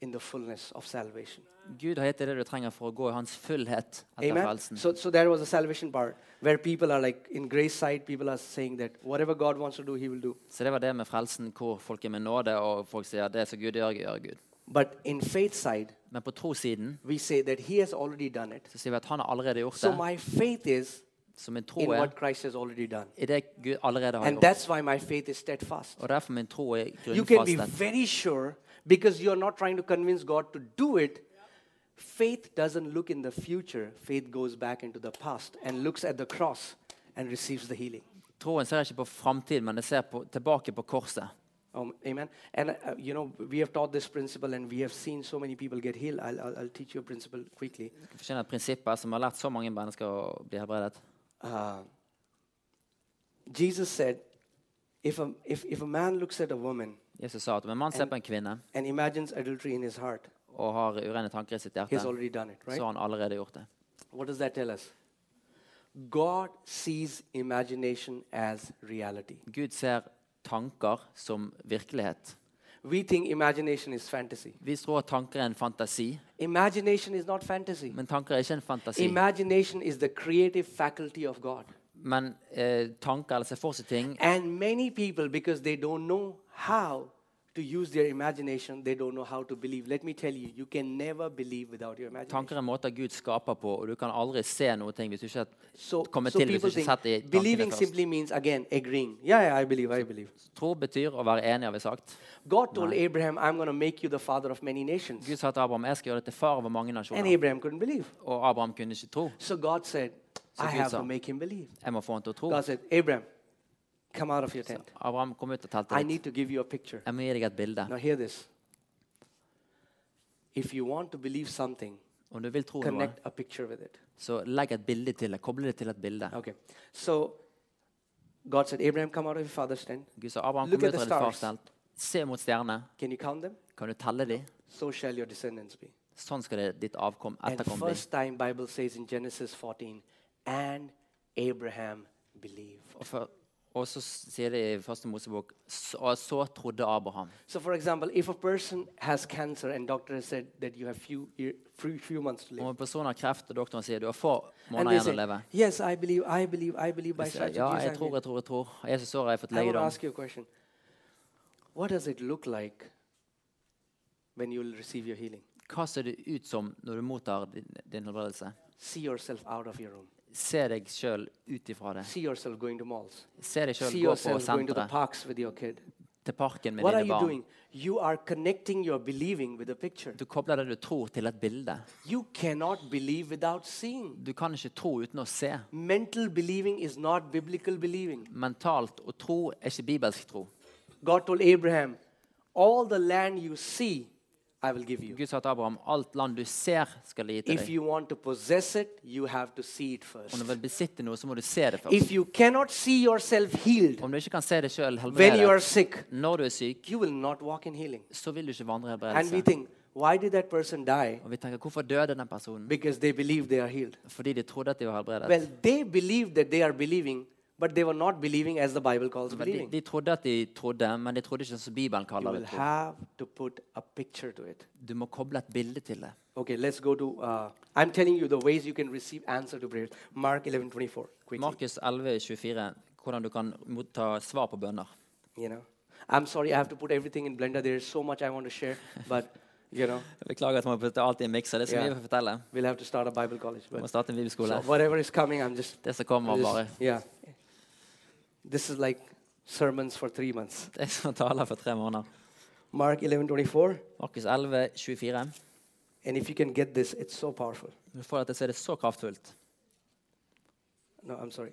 in the fullness of salvation. Gud har gitt deg det du trenger for å gå i hans fullhet etter Amen? frelsen. So, so there was a salvation part where people are like, in grace side, people are saying that whatever God wants to do, He will do. Så det var det med frelsen, hvor folk er med nåde, og folk sier det som Gud gjør, gjør Gud. But in faith side, Men på trossiden we say that He has already done it. så sier vi at han har allerede gjort So det. my faith is Så min tro in er what Christ has already done. i det Gud allerede har And gjort. that's why my faith is steadfast. Og derfor min tro er You can be grunnfastet. very sure because you're not trying to convince God to do it. Faith doesn't look in the future, faith goes back into the past and looks at the cross and receives the healing. Troen ser ikke på framtid, men den ser på, tilbake på korset. Um, amen. And uh, uh, you know, we have taught this principle and we have seen so many people get healed. I'll, I'll, I'll teach you a principle quickly. Jeg fortjener et prinsipp her som har lært så mange mennesker å bli helbredet. Uh, Jesus said, if a, if, if a man looks at a woman Jesus sa at om en mann ser på en kvinne and imagines adultery in his heart, og har urene tanker i sitt he hjerte, has already done it, så right? har han allerede gjort det. What does that tell us? God sees imagination as reality. Gud ser tanker som virkelighet. We think imagination is fantasy. Vi tror at tanker er en fantasi, Imagination is not fantasy. men tanker er ikke en fantasi. Imagination is the creative faculty of God. Men eh, tanker eller se for seg ting And many people, because they don't know how to use their imagination, they don't know how to believe. Let me tell you, you can never believe without your imagination. Tanker er måter Gud skaper på, og du kan aldri se noe ting hvis du ikke So, kommer so til hvis people du ikke setter i think tankene believing først. simply means, again, agreeing. Yeah, yeah, I believe, I believe. Tro betyr å være enig, har vi sagt. God told Abraham, I'm going to make you the father of many nations. Gud sa til Abraham jeg skal gjøre deg til far over mange And nasjoner. Abraham couldn't believe. Og Abraham kunne ikke tro. So God said, I Gud have sa- to make him believe. Jeg må få han til å tro. God said, Abraham, come out of your tent. Abraham, kom ut av I teltet ditt. need to give you a picture. Jeg må gi deg et bilde. Now, hear this. If you want to believe something, Om du vil tro noe, connect a picture with it. så legg et bilde til det. Koble det til et bilde. Okay. So, God said, Abraham, come out of your father's tent. Gud sa Abraham, Look kom at the ut av ditt fars stars. telt. Se mot stjernene. Can you count them? Kan du telle dem? So shall your descendants be. Sånn skal det ditt avkom And etterkom bli. first time Bible says in Genesis 14, and Abraham believed. Og, for, og så sier det i første Mosebok "S- Og så trodde Abraham. So for example, if a person has cancer and doctor has said that you have few, year, few, few months to live. Om en person har kreft, og doktoren sier du har få and måneder they igjen å say, leve yes, I believe, I believe, I believe by Du sier, stripes Ja, of Jesus jeg I'm tror, healed." jeg tror, jeg tror. Og Jesus sår har jeg fått I want to legedom. ask you a question. What does it look like when you'll receive your healing? Hva ser det ut som når du mottar din, din helbredelse? See yourself out of your room. Se deg sjøl ut ifra det. See yourself going to malls. Se deg sjøl See gå på yourself going to the senteret, parks with your kid. til parken med What are dine you barn. doing? You are connecting your believing with a picture. Du kobler det du tror, til et bilde. You cannot believe without seeing. Du kan ikke tro uten å se. Mental believing is not biblical believing. Mentalt å tro er ikke bibelsk tro. God told Abraham, All the land you see, I will give you. Gud sa til Abraham alt land du ser, skal jeg gi til If deg. you want to possess it, you have to see it first. Om du vil besitte noe, så må du se det først. If you cannot see yourself healed Om du ikke kan se deg sjøl when you are helbredet sick, når du er syk, you will not walk in healing. så vil du ikke vandre i And we helbredelse. think, why did that person die? Og vi tenker hvorfor døde den personen? Because they believe they are healed. Fordi de trodde at de var helbredet. Well, they believe that they are believing, but they were not believing as the Bible calls Men De, believing. de trodde at de trodde, men de trodde ikke som Bibelen You kaller will det. tro. have to put a picture to it. Du må koble et bilde til det. Okay, let's go to. Uh, I'm telling you the ways you can receive answer to prayers. Mark 11:24. Quickly, Markus 11, 24, hvordan du kan motta svar på bønner. you know, I'm sorry I have to put everything in blender. There's so much I want to share, but you know, Jeg Beklager at man putter alt i en mikser. Det er så Ja. mye å fortelle. we'll have to start a Bible college. Vi But må starte en so bibelskole. whatever is coming, I'm just. Det som kommer, I'm just- bare yeah. This is like sermons for three months. Det er som taler for tre måneder. Mark 11:24, Markus 11, 24. and if you can get this, it's so powerful. Når du får dette, så er det så kraftfullt. No, I'm sorry.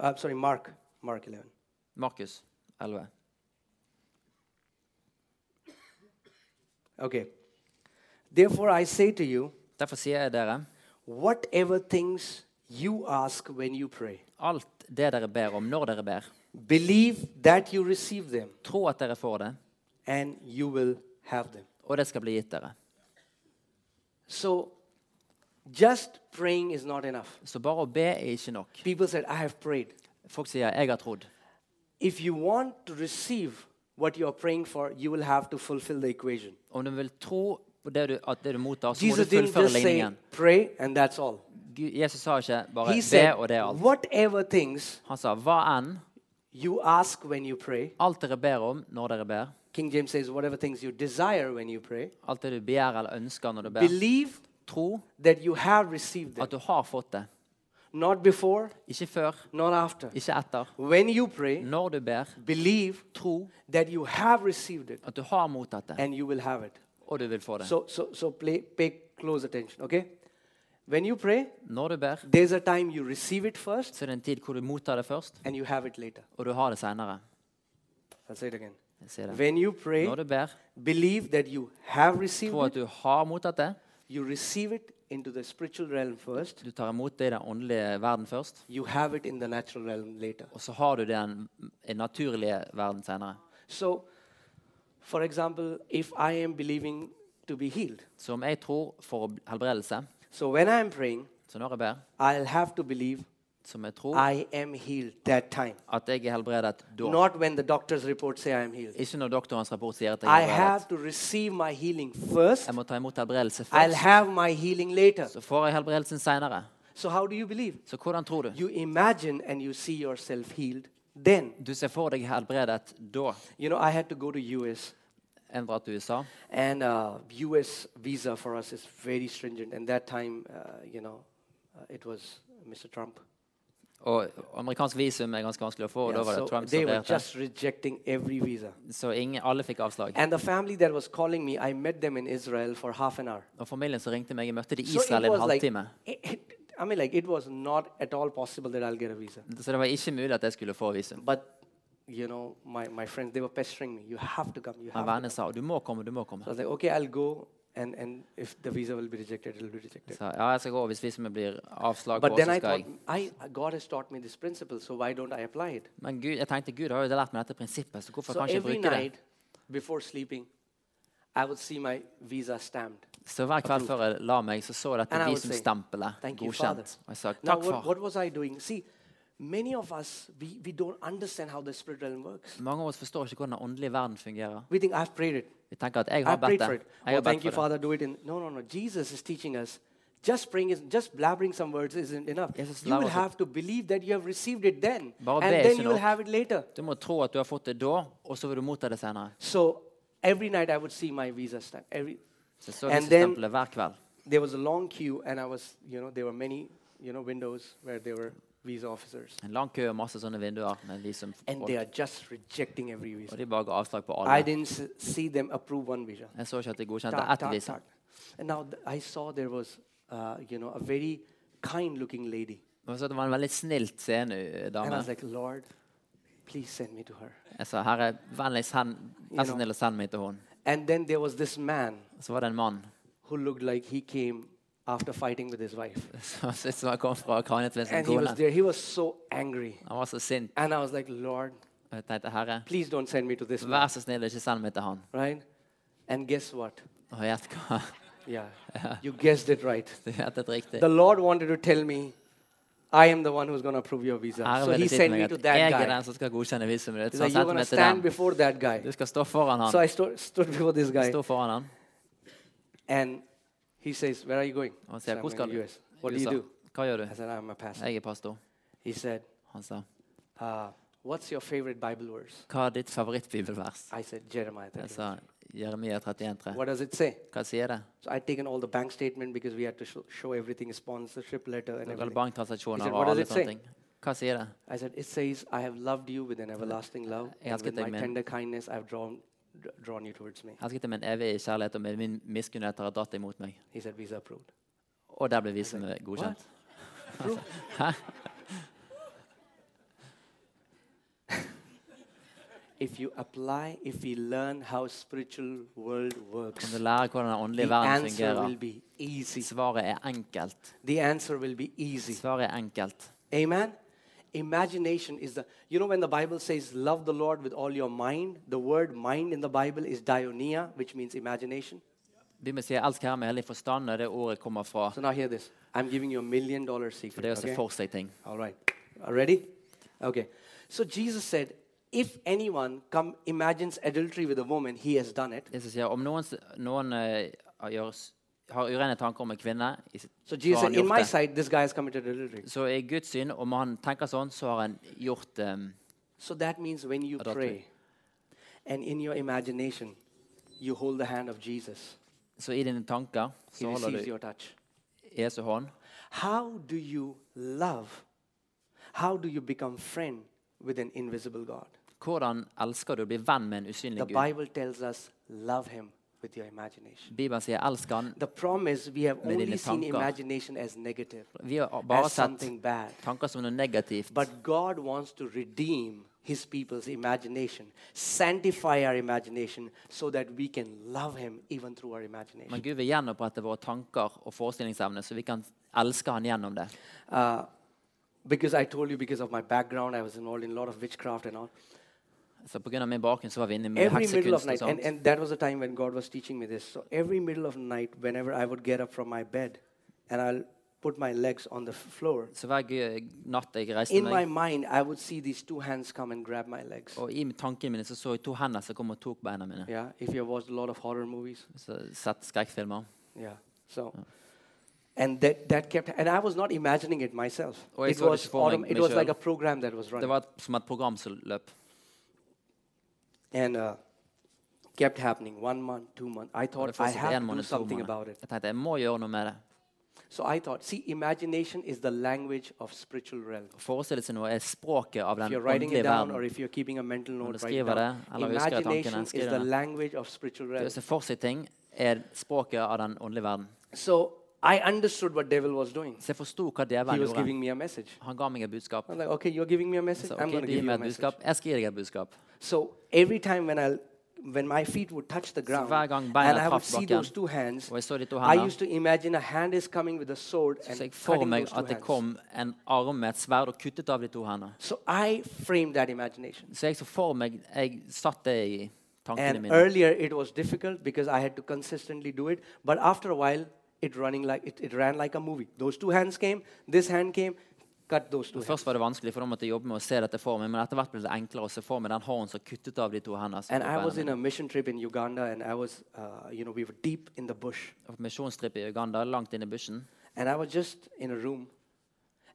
I'm sorry, Mark. Mark 11. Markus 11. Okay. Therefore, I say to you, Derfor sier jeg dere, whatever things you ask when you pray, alt det dere ber om, når dere ber, believe that you receive them tro at dere får det, and you will have them. og det skal bli gitt dere. So, just praying is not enough. Så bare å be er ikke nok. People said, I have prayed. Folk sier 'jeg har trodd'. If you want to receive what you are praying for, you will have to fulfill the equation. Om du vil tro på det du, at det du mottar, så må du Jesus didn't fullføre just say, ligningen. pray and that's all. Gud- Jesus sa ikke bare He 'be', said, og det er alt. whatever things Han sa 'hva enn', you ask when you pray, alt dere ber om når dere ber, King James says, whatever things you desire when you pray, alt det du begjærer eller ønsker når du ber, believe tro that you have received them. at du har fått det. Not before, Ikke før, not after. ikke etter. When you pray, Når du ber, believe tro that you have received it at du har mottatt det, and you will have it. og du vil få det. So, so, so play, pay close attention, okay? When you pray, Når du ber, there's a time you receive it first så er det en tid hvor du mottar det først, and you have it later. og du har det seinere. I'll say it again. Jeg sier det. When you pray, Når du ber, believe that you have received tro it, at du har mottatt det. you receive it into the spiritual realm first, Du tar imot det i den åndelige verden først, you have it in the natural realm later. og så har du det i den i den naturlige verden senere. So, for example, if I am believing to be healed, Så om jeg tror for helbredelse, so when I am praying, så når jeg ber, I'll have to believe som jeg tror I am healed that time. at jeg er helbredet da. Not when the doctor's report say I am healed. Ikke når doktorens rapport sier at jeg I er helbredet. have to receive my healing first. Jeg må ta imot helbredelse I'll først, have my healing later. så får jeg helbredelsen seinere. So how do you believe? Så hvordan tror du? You imagine and you see yourself healed then. Du ser for deg helbredet da. You know, I had to go to US Jeg drar til USA. and uh, US visa for us is very stringent and that time, uh, you know, uh, it was Mr. Trump. Og amerikansk visum er ganske vanskelig å få, og Yeah, da var det so Trump they som were regjerte. just rejecting every visa. Så ingen, alle fikk avslag. And the family that was calling me, I met them in Israel for half an hour. Og familien som ringte meg, jeg møtte de i So Israel i it en was like, halvtime. it- it- I mean, like, it was not at all possible that I'll get a visa. Så det var ikke mulig at jeg skulle få visum. But, you know, my, my friends, they were pestering me. You have to come. You Men have to. vennene sa du må komme, du må So I komme. was like, okay, I'll go. and, and if the visa will be rejected, it will be rejected. Så, ja, jeg skal gå hvis visummet blir avslag på, But så then I skal thought, jeg. I, God has taught me this principle, so why don't I apply it? Men Gud, jeg tenkte Gud har jo lært meg dette prinsippet, så hvorfor So kan jeg ikke every bruke night before sleeping, I would see my visa stamped. det? Så hver kveld før jeg la meg, så så jeg dette And I would say, visumstempelet "Thank you, Father." godkjent. Og jeg sa Now, takk, what, far. what was I doing? See, many of us, we, we don't understand how the spirit realm works. Mange av oss forstår ikke hvordan den åndelige verden fungerer. We think, I've prayed it. Vi tenker at jeg I har bedt prayed for det. it. Oh, Jeg har bedt thank you, for det. Father. Do it in. No, no, no. Jesus is teaching us. Just praying is just blabbering some words isn't enough. Jesus you will lærer oss å- have to believe that you have received it then, Bare and be then ikke you will nok. have it later. Du må tro at du har fått det da, og så vil du motta det senere. So every night I would see my visa stamp. Every Så jeg så And then- visumstempelet hver kveld. there was a long queue, and I was, you know, there were many, you know, windows where there were visa officers, En lang kø og masse sånne vinduer med visum. and Og they are just rejecting every visa. de bare ga avslag på I alle. didn't s- see them approve one visa. Jeg så ikke at de godkjente Tar, ett tar, visum. tar. And now th- I saw there was, uh, you know, a very kind-looking lady. Men så det var en veldig snilt seende eh, And I dame. was like, Lord, please send me to her. Jeg sa, herre, vennligst send, vær så know. snill og send meg til hun. And then there was this man Så var det en mann who looked like he came after fighting with his wife. som syntes han kom fra Kraniet med sin And he was kone. there. He was so angry. Han var så sint. And I was like, Lord, Og jeg tenkte, herre, please don't send me to this man. vær så snill og ikke send meg til han. Right? And guess what? Og gjett hva? Yeah. You guessed it right. Du gjettet riktig. The Lord wanted to tell me, I am the one who's going to approve your visa. Herre So ville he si til sent meg me at to that jeg er guy. den som skal godkjenne visumet ditt. He's Så han like, you're sendte going to meg til stand den. before that Du guy. skal stå foran So han. I sto- stood before this guy. Stå foran han. And he says, Where are you going? Og han Oh, I said, "I'm sier, hvor going skal to du? US. What do you USA. do? Hva gjør I du? said, I'm a pastor. Jeg er pastor. He said, Han sa, uh, What's your favorite Bible verse? hva er ditt favorittbibelvers? I said, Jeremiah. 31." Jeg sa, Jeremia 31,3. What does it say? Hva sier det? So I'd taken all the bank statement because we had to show, show everything, sponsorship letter and Det everything. er He said, banktransaksjoner "What og does alle it say?" sånne ting. Hva sier det? I said, It says, I have loved you with an everlasting love. Jeg And with elsket deg my med- tender kindness, I've drawn, dr- drawn you towards me. Elsket deg med en evig kjærlighet, og med min miskunnhet har dratt deg mot meg. He said, Visa approved. Og der ble visumet What? godkjent. Approved? if you apply, if we learn how spiritual world Om works, du lærer hvordan den åndelige the verden answer will fungerer, be easy. svaret er enkelt. The answer will be easy. Svaret er enkelt. Amen. Imagination is the, you know, when the Bible says, love the Lord with all your mind, the word mind in the Bible is dionia, which means imagination. Bibelen sier 'elsk Herre med hele din forstand', og det ordet kommer fra So now hear this. I'm giving you a million dollar secret. for det å se okay? for seg ting. All right. Are ready? Okay. So Jesus said, if anyone come imagines adultery with a woman, he has done it. Jesus sier om noen, s- noen eh, har gjør s- har urene tanker om en kvinne, i sitt- So så Jesus har han said, in gjort my det. sight, this guy has committed adultery. Så i Guds syn, om han tenker sånn, så har han gjort um, So that means when you Adultery. pray and in your imagination, you hold the hand of Jesus, Så i dine tanker he så holder receives du your touch. Jesu hånd. How do you love? How do you become friend with an invisible God? Hvordan elsker du å bli venn med en usynlig The Gud? Bible tells us love him with your imagination. Bibelen sier 'elsk han'. The problem is we have Med only dine seen tanker. imagination as negative, Vi har bare as sett something bad. tanker som noe negativt. But God wants to redeem his people's imagination, sanctify our imagination so that we can love him even through our imagination. Men Gud vil gjenopprette våre tanker og forestillingsevne, så vi kan elske han gjennom det. Uh, because I told you, because of my background, I was involved in a lot of witchcraft and all. Så pga. min bakgrunn så var vi inne i mye every middle of heksekunst og night and, sånt. and that was the time when god was teaching me this so every middle of night whenever i would get up from my bed and i'll put my legs on the f- floor Så hver gu- natt jeg reiste in my meg, mind i would see these two hands come and grab my legs og i tankene mine så så jeg to hender som kom og tok beina mine. yeah if you've watched a lot of horror movies Så Sett skrekkfilmer. yeah so Oh. and that, that kept and i was not imagining it myself Oh, I it saw the was performing autom- it was myself. like a program that was Det running var et- som et program som løp. and uh, kept happening one month two months i Og thought det i fortsatte have en to do måned, to something about måneder. it Jeg tenkte jeg må gjøre noe med det. so i thought see imagination is the language of spiritual realm Forestillelsesnivået er språket av if den you're writing it åndelige down or verden. if you're keeping a mental Om du note, write it uh, skriver down. det, eller husker jeg tankene, Imagination is skriv the det. language of spiritual Det realm. å se for seg ting er språket av den åndelige verden. So I understood what devil was doing. Så jeg forsto hva He djevelen was gjorde. giving me a message. Han ga meg et budskap. I was like, okay, you're giving me a Så, message. I'm ok, going du to gir give you meg a et message. budskap. Jeg skal gi deg et budskap. So every time when I'll when my feet would touch the ground hver gang and beina I would traff see bakken, those two hands, og jeg så de to I hendene. used to imagine a hand is coming with a sword and Så jeg for cutting meg those two at det hands. kom en arm med et sverd og kuttet av de to hendene. So I framed that imagination. Så jeg så for meg Jeg satt det i tankene And mine. earlier it was difficult because I had to consistently do it. But after a while, it running like it, it ran like a movie. Those two hands came, this hand came, cut those two hands. Først var det vanskelig, for da måtte jeg jobbe med å se dette for meg. Men etter hvert ble det enklere å se for meg den hånden som kuttet av de to hendene. som And tok I beina was in mine. a mission trip in Uganda, and I was, uh, you know, we were deep in the bush, På misjonstripp i Uganda, langt inn i bushen. and I was just in a room.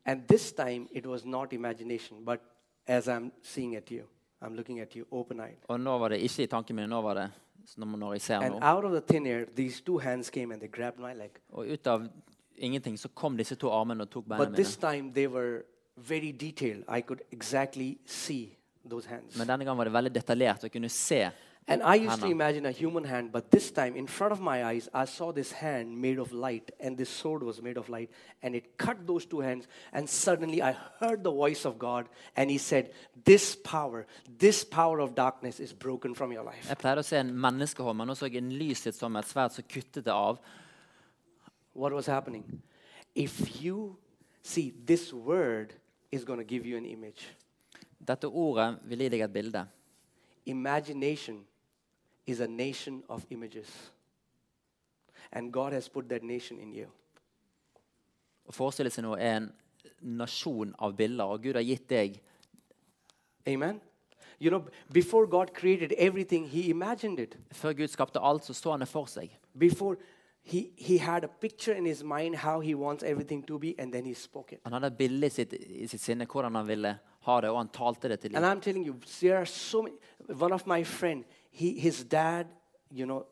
And this time it was not imagination, but as I'm seeing at you, I'm looking at you open-eyed. Og nå var det ikke i tankene mine. Nå var det s- når når jeg ser And noe. out of the thin air, these two hands came and they grabbed my leg. Og ut av ingenting så kom disse to armene og tok beina But mine. this time they were very detailed. I could exactly see those hands. Men denne gangen var det veldig detaljert. og Jeg kunne se And I used to Hannah. imagine a human hand, but this time in front of my eyes, I saw this hand made of light, and this sword was made of light, and it cut those two hands. And suddenly I heard the voice of God, and He said, This power, this power of darkness is broken from your life. Jeg pleide å se en menneskehånd, men nå så jeg en lyshet som et sverd som kuttet det av. What was happening? If you see, this word is going to give you an image. Dette ordet vil gi deg et bilde. Imagination is a nation of images, and God has put that nation in you. Å forestille seg noe er en nasjon av bilder, og Gud har gitt deg Amen. You know, b- before God created everything, He imagined it. Før Gud skapte alt, så så han det for seg. Before He He had a picture in His mind how He wants everything to be, and then He spoke it. Han hadde et bilde i sitt, i sitt sinne hvordan han ville ha det, og han talte det til And dem. I'm telling you, there are so many. One of my friend, he his dad, you know,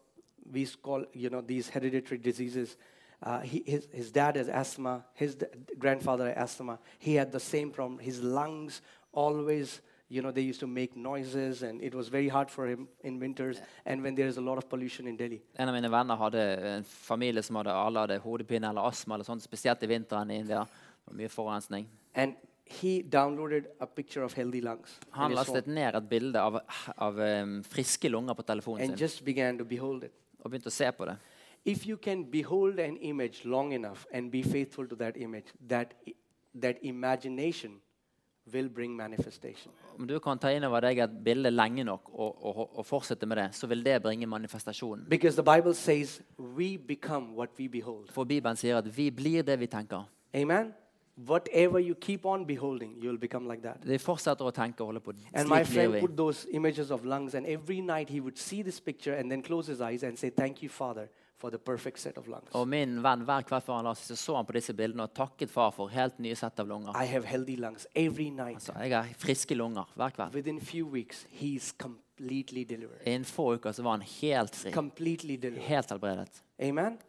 we call you know these hereditary diseases. Uh, he, his, his dad has asthma. His d- grandfather had asthma. He had the same problem. His lungs always, you know, they used to make noises, and it was very hard for him in winters. And when there is a lot of pollution in Delhi, En av mine venner hadde en familie som hadde alle hadde hodepine eller astma, eller sånt, spesielt i vinteren i India. Det var mye forurensning. and he downloaded a picture of healthy lungs in Han his lastet phone ned et bilde av, av em, friske lunger på telefonen and sin just began to behold it. og begynte å se på det. If you can behold an image long enough and be faithful to that image, that, i- that imagination will bring manifestation. Om du kan ta inn over deg et bilde lenge nok og, og, og fortsette med det, så vil det bringe manifestasjonen. Because the Bible says we become what we behold. For Bibelen sier at vi blir det vi tenker. Amen? Whatever you keep on beholding, you'll become like that. Vi fortsetter å tenke og holde på. And my Slik blir friend vi. put those images of lungs, and every night he would see this picture and then close his eyes and say, Thank you, Father, for the perfect set of lungs. Og min venn, hver kveld før han la seg, så så han på disse bildene og takket far for helt nye sett av lunger. I have healthy lungs every night. Altså, jeg har friske lunger hver kveld. Within few weeks, he's completely delivered. Innen få uker så var han helt fri. Completely delivered. Helt helbredet. Amen.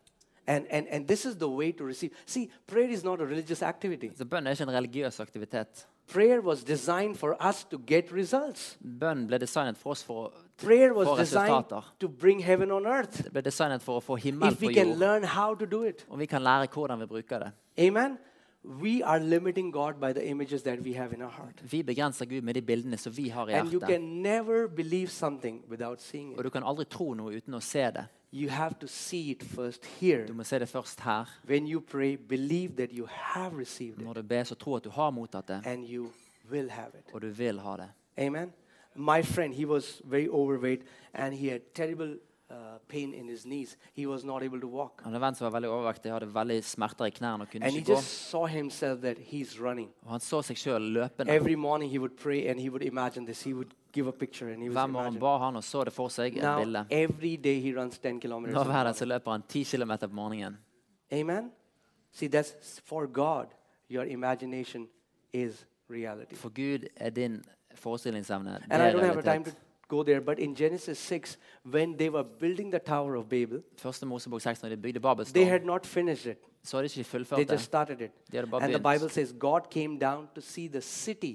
And, and, and this is the way to receive. See, prayer is not a religious activity. Så bønn er ikke en religiøs aktivitet. Prayer was designed for us to get results. Bønn ble designet for oss for, å- Prayer for was designed resultater. to bring heaven on earth. Det ble designet for å få himmel If på we can jord. learn how to do it. Og vi kan lære hvordan vi bruker det. Amen. We are limiting God by the images that we have in our heart. Vi begrenser Gud med de bildene som vi har i And you hjertet. can never believe something without seeing Og it. du kan aldri tro noe uten å se det. You have to see it first here. Du må se det først her. When you pray, believe that you have received it Når du ber, så tro at du har mottatt det, and you will have it. og du vil ha det. Amen. My friend, he was very overweight and he had terrible uh, pain in his knees. He was not able to walk. Han hadde en venn som var veldig overvektig, hadde veldig smerter i knærne og kunne And he ikke gå. just saw himself that he's running. Og han så seg sjøl løpende. Every morning he would pray and he would imagine this. He would give a picture and he was Hver morgen imagining. ba han og så det for seg et bilde. Now, every day he runs 10 kilometers. Nå in the hver dag morning. så løper han 10 km på morgenen. Amen. See, that's for God, your imagination is reality. For Gud er din forestillingsevne. Det And I er don't have a time to realitet. go there, but in Genesis 6, when they were building the Tower of Babel, Første Mosebok 6, når de bygde they Babelstårn, had not finished it. så hadde ikke de They fullført just det. started it. They had about And the billions. Bible says God came down to see the city.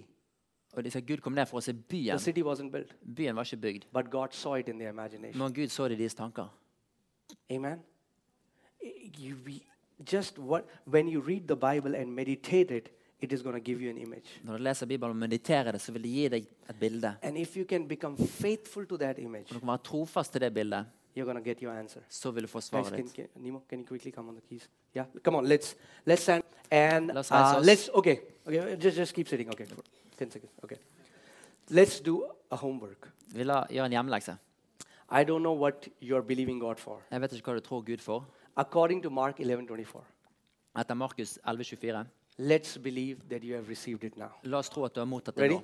Og de sa Gud kom ned for å se The byen. city wasn't built, Byen var ikke bygd. but God saw it in their imagination. Men Gud så det i deres tanker. Amen. I- You we- just what when you read the Bible and meditate it, it is going to give you an image. Når du leser Bibelen og mediterer det, så vil det gi deg et bilde. And if you can become faithful to that image, Og du kan være trofast til det bildet, you're going to get your answer. så vil du få Guys, svaret can, ditt. can, Nemo, can you quickly come on the keys? Yeah, come on. Let's let's stand and Let's rise uh, us. let's okay okay just just keep sitting. Okay, for ten seconds. Okay, let's do a homework. Vi la gjøre en hjemmelekse. I don't know what you're believing God for. Jeg vet ikke hva du tror Gud for. According to Mark 11:24, Etter Markus 11,24. let's believe that you have received it now. La oss tro at du har mottatt det Ready? nå.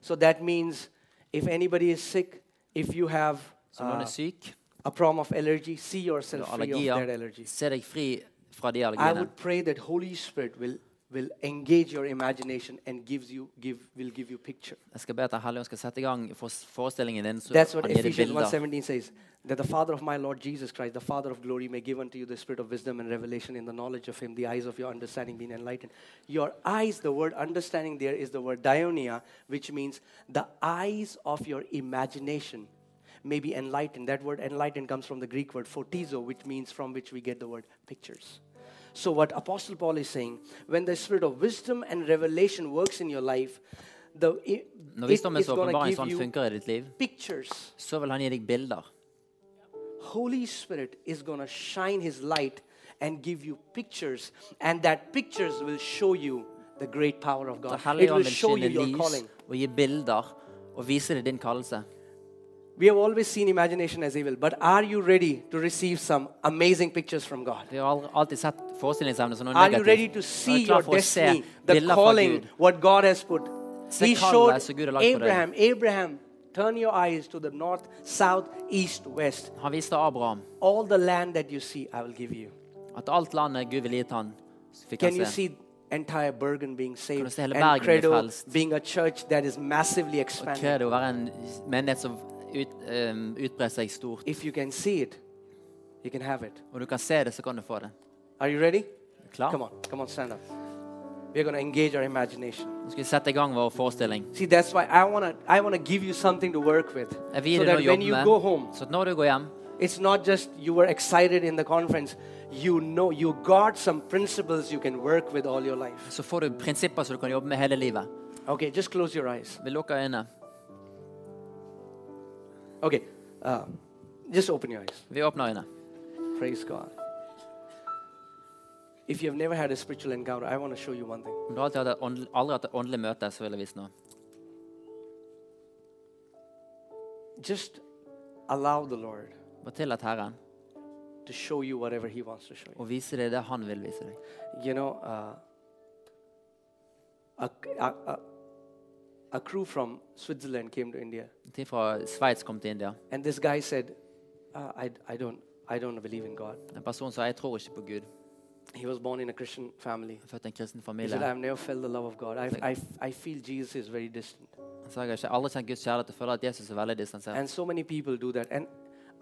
So that means if anybody is sick, if you have Så om noen uh, er syk, a problem of allergy, see eller yourself free of that allergier, allergy. se deg fri fra de I allergiene. would pray that Holy Spirit will will engage your imagination and gives you give will give you picture. Jeg skal be at Den hellige ånd skal sette i gang for- forestillingen din. så That's what han gir deg Ephesians bilder. 1:17 says. That the Father of my Lord Jesus Christ, the Father of glory, may give unto you the spirit of wisdom and revelation in the knowledge of Him, the eyes of your understanding being enlightened. Your eyes, the word understanding there is the word dionia, which means the eyes of your imagination may be enlightened. That word enlightened comes from the Greek word photizo, which means from which we get the word pictures. So, what Apostle Paul is saying, when the spirit of wisdom and revelation works in your life, the, it, Når it is visdommens going åpenbaring to give sånn you funker i ditt liv, pictures. så vil han gi deg bilder. Holy Spirit is going to shine His light and give you pictures, and that pictures will show you the great power of Den God. It hellige will ånd vil show skinne you your lys calling. og gi bilder og vise deg din kallelse. We have always seen imagination as evil, but are you ready to receive some amazing pictures from God? Vi har al- alltid sett forestillingsevne som noe Are you negativt. ready to Er see du klar your for å se destiny, the bilder fra calling, Gud? what God has put? Se He kallet showed som Gud har lagt på deg. Abraham, Abraham, turn your eyes to the north, south, east, west. Han viste Abraham All the land that you see, I will give you. at alt landet Gud ville gitt han, fikk Can you han se. see entire Bergen being Kan du saved se hele and Bergen bli Credo frelst? being a church that is massively Og expanded? Credo være en menighet som ut, ehm, utbrer seg stort. If you can see it, you can have it. Og du kan se det, så kan du få det. Are you ready? Klar? Come on, come on, stand up. We're going to engage our imagination. Nå skal vi sette i gang vår forestilling. See, that's why I want to I want to give you something to work with Jeg vil so gi deg noe that å when jobbe you med. go home, Så at når du går hjem, it's not just you were excited in the conference, you know you got some principles you can work with all your life. så får du prinsipper som du kan jobbe med hele livet. Okay, just close your eyes. Vi lukker øynene. Okay. Uh, just open your eyes. Vi åpner øynene. Praise God. If you have never had a spiritual encounter, I want to show you one thing. Om du alltid hadde ånd- aldri hatt et åndelig møte, så vil jeg vise noe. Just allow the Lord Bare tillat Herren to show you whatever He wants to show you. å vise deg det Han vil vise deg. You know, uh, a, a, a, a crew from Switzerland came to India, En tid fra Sveits kom til India. and this guy said, uh, I, I, don't, I don't believe in God. En person sa 'Jeg tror ikke på Gud'. He was born in a Christian family. Jeg er født i en kristen He said, familie. I've never felt the love of God. I, I, I feel Jesus is very distant. Han sa jeg har ikke aldri kjent Guds kjærlighet og føler at Jesus er veldig distansert. And so many people do that. And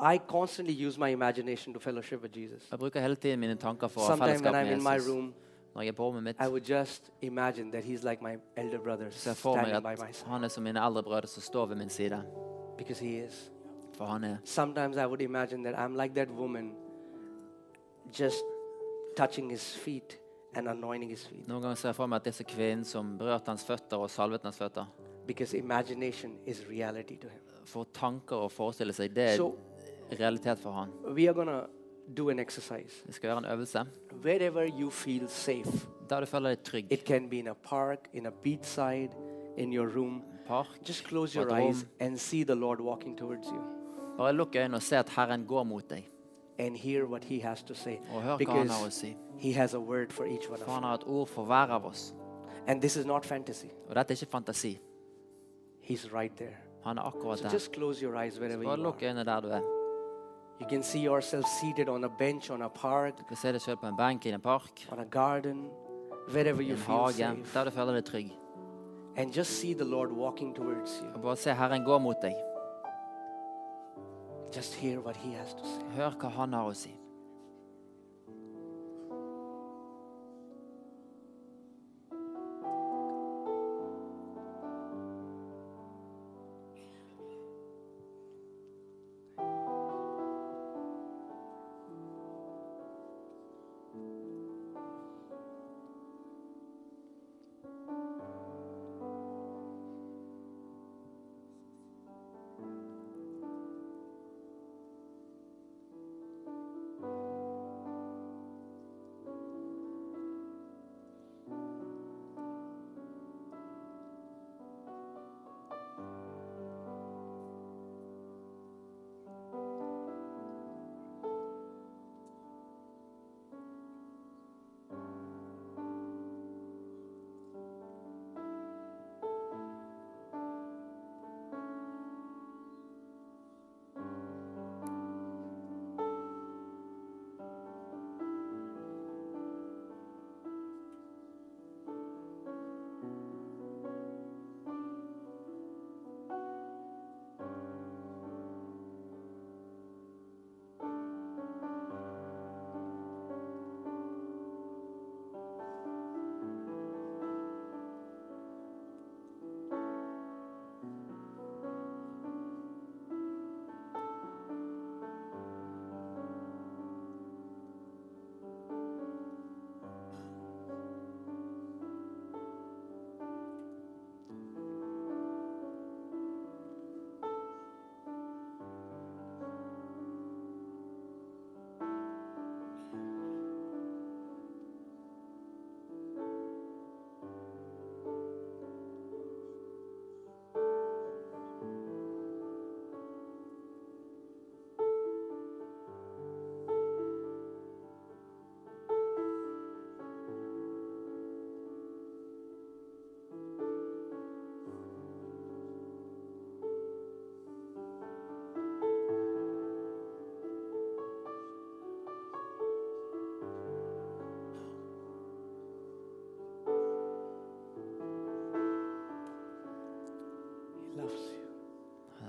I constantly use my imagination to fellowship with Jesus. Jeg bruker hele tiden mine tanker for Sometimes fellesskap when I'm med in my Jesus. room, Når jeg er på rommet mitt, I would just imagine that he's like my elder brother så ser jeg for meg standing by my at side han er som mine eldre brødre som står ved min side. because he is. For han er. Sometimes I would imagine that I'm like that woman just touching his feet and anointing his feet Noen ganger ser jeg for meg at disse kvinnen som berørte hans føtter og salvet hans føtter, because imagination is reality to him. får tanker og forestiller seg. Det Så- er realitet for han. We are going to do an exercise. Vi skal gjøre en øvelse Wherever you feel safe, der du føler deg trygg. it can be in a park, in a beachside, in your room. Park. Just close Or your at eyes home. and see the Lord walking towards you Bare lukk øynene og se at Herren går mot deg. and hear what he has to say Og hør hva han har å because si. he has a word for each one of For us. han har et ord for hver av oss. And this is not fantasy. Og dette er ikke fantasi. He's right there. Han er akkurat So der. just close your eyes wherever you Bare are. lukk øynene der du er. You can see yourself seated on a bench, on a park, Du kan se deg selv på en benk i en park, on a garden, wherever i you en feel hage, safe. der du føler deg trygg. And just see the Lord walking towards you. Og bare se Herren gå mot deg. Just hear what he has to say. Hør hva han har å si.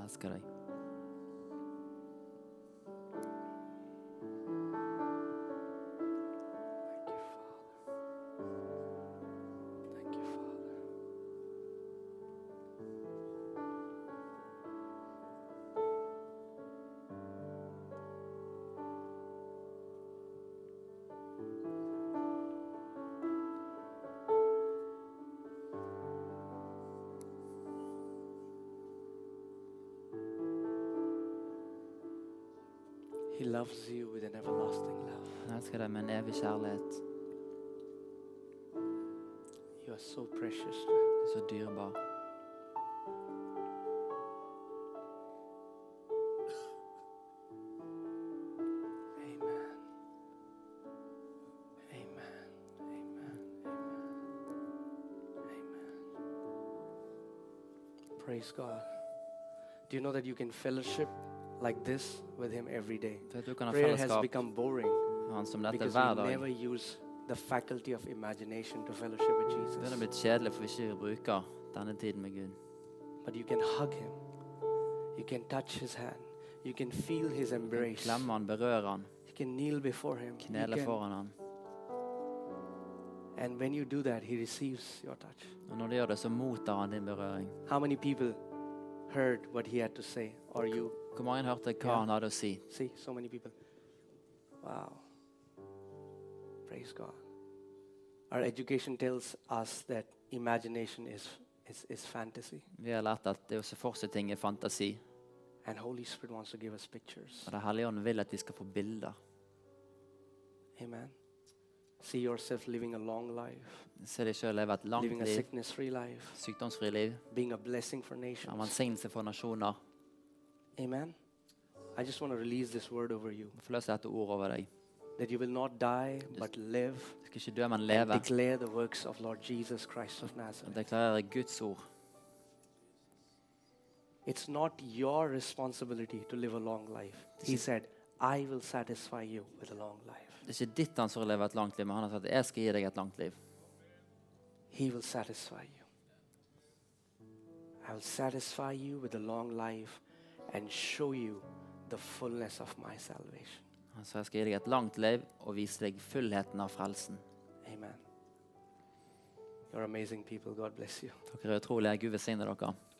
elsker deg. Thank you, Father. Thank you, Father. He loves you with an everlasting love. Han elsker deg med en evig kjærlighet. You are so precious to Him. Du er så dyrebar. Amen. Amen. Amen. Amen. Amen. Praise God. Do you know that you can fellowship like this with Him every day? Du vet du kan ha Prayer has fellesskap become boring med han som dette because hver we dag. never use the faculty of imagination to fellowship with Det begynner å Jesus. bli kjedelig, for vi ikke bruker denne tiden med Gud. But you can hug Him, you can touch His hand, you can feel His embrace, Klemme han, berøre han, you can kneel before Him, you knele can foran han. And when you do that, He receives your touch. Og når du gjør det, så mottar han din berøring. How many people heard what He had to say? Or you? Hvor mange hørte hva Ja. han hadde å si? See, so many people. Wow. Praise God. Our education tells us that imagination is, is, is fantasy, Vi har lært at det å se for seg ting er fantasi, and Holy Spirit wants to give us pictures. og Den hellige ånd vil at vi skal få bilder. Amen. See yourself living a long life, Se deg sjøl leve et langt living a liv, sickness free life, sykdomsfri liv, being a blessing for en nations. velsignelse for nasjoner. Amen. I just want to release this word over you Forløs dette ordet over deg. that you will not die but live Du skal ikke dø, men and leve. declare the works of Lord Jesus Christ of Og Nazareth. deklarere Guds ord. It's not your responsibility to live a long life. He said, I will satisfy you with a long life. Det er ikke ditt ansvar å leve et langt liv, men han har sagt jeg skal gi deg et langt liv. He will satisfy you. I will satisfy you with a long life and show you the fullness of my salvation. Han sa jeg skal gi deg et langt liv og vise deg fullheten av frelsen. Amen. You're amazing people. God bless you. Dere er utrolige. Gud velsigne dere.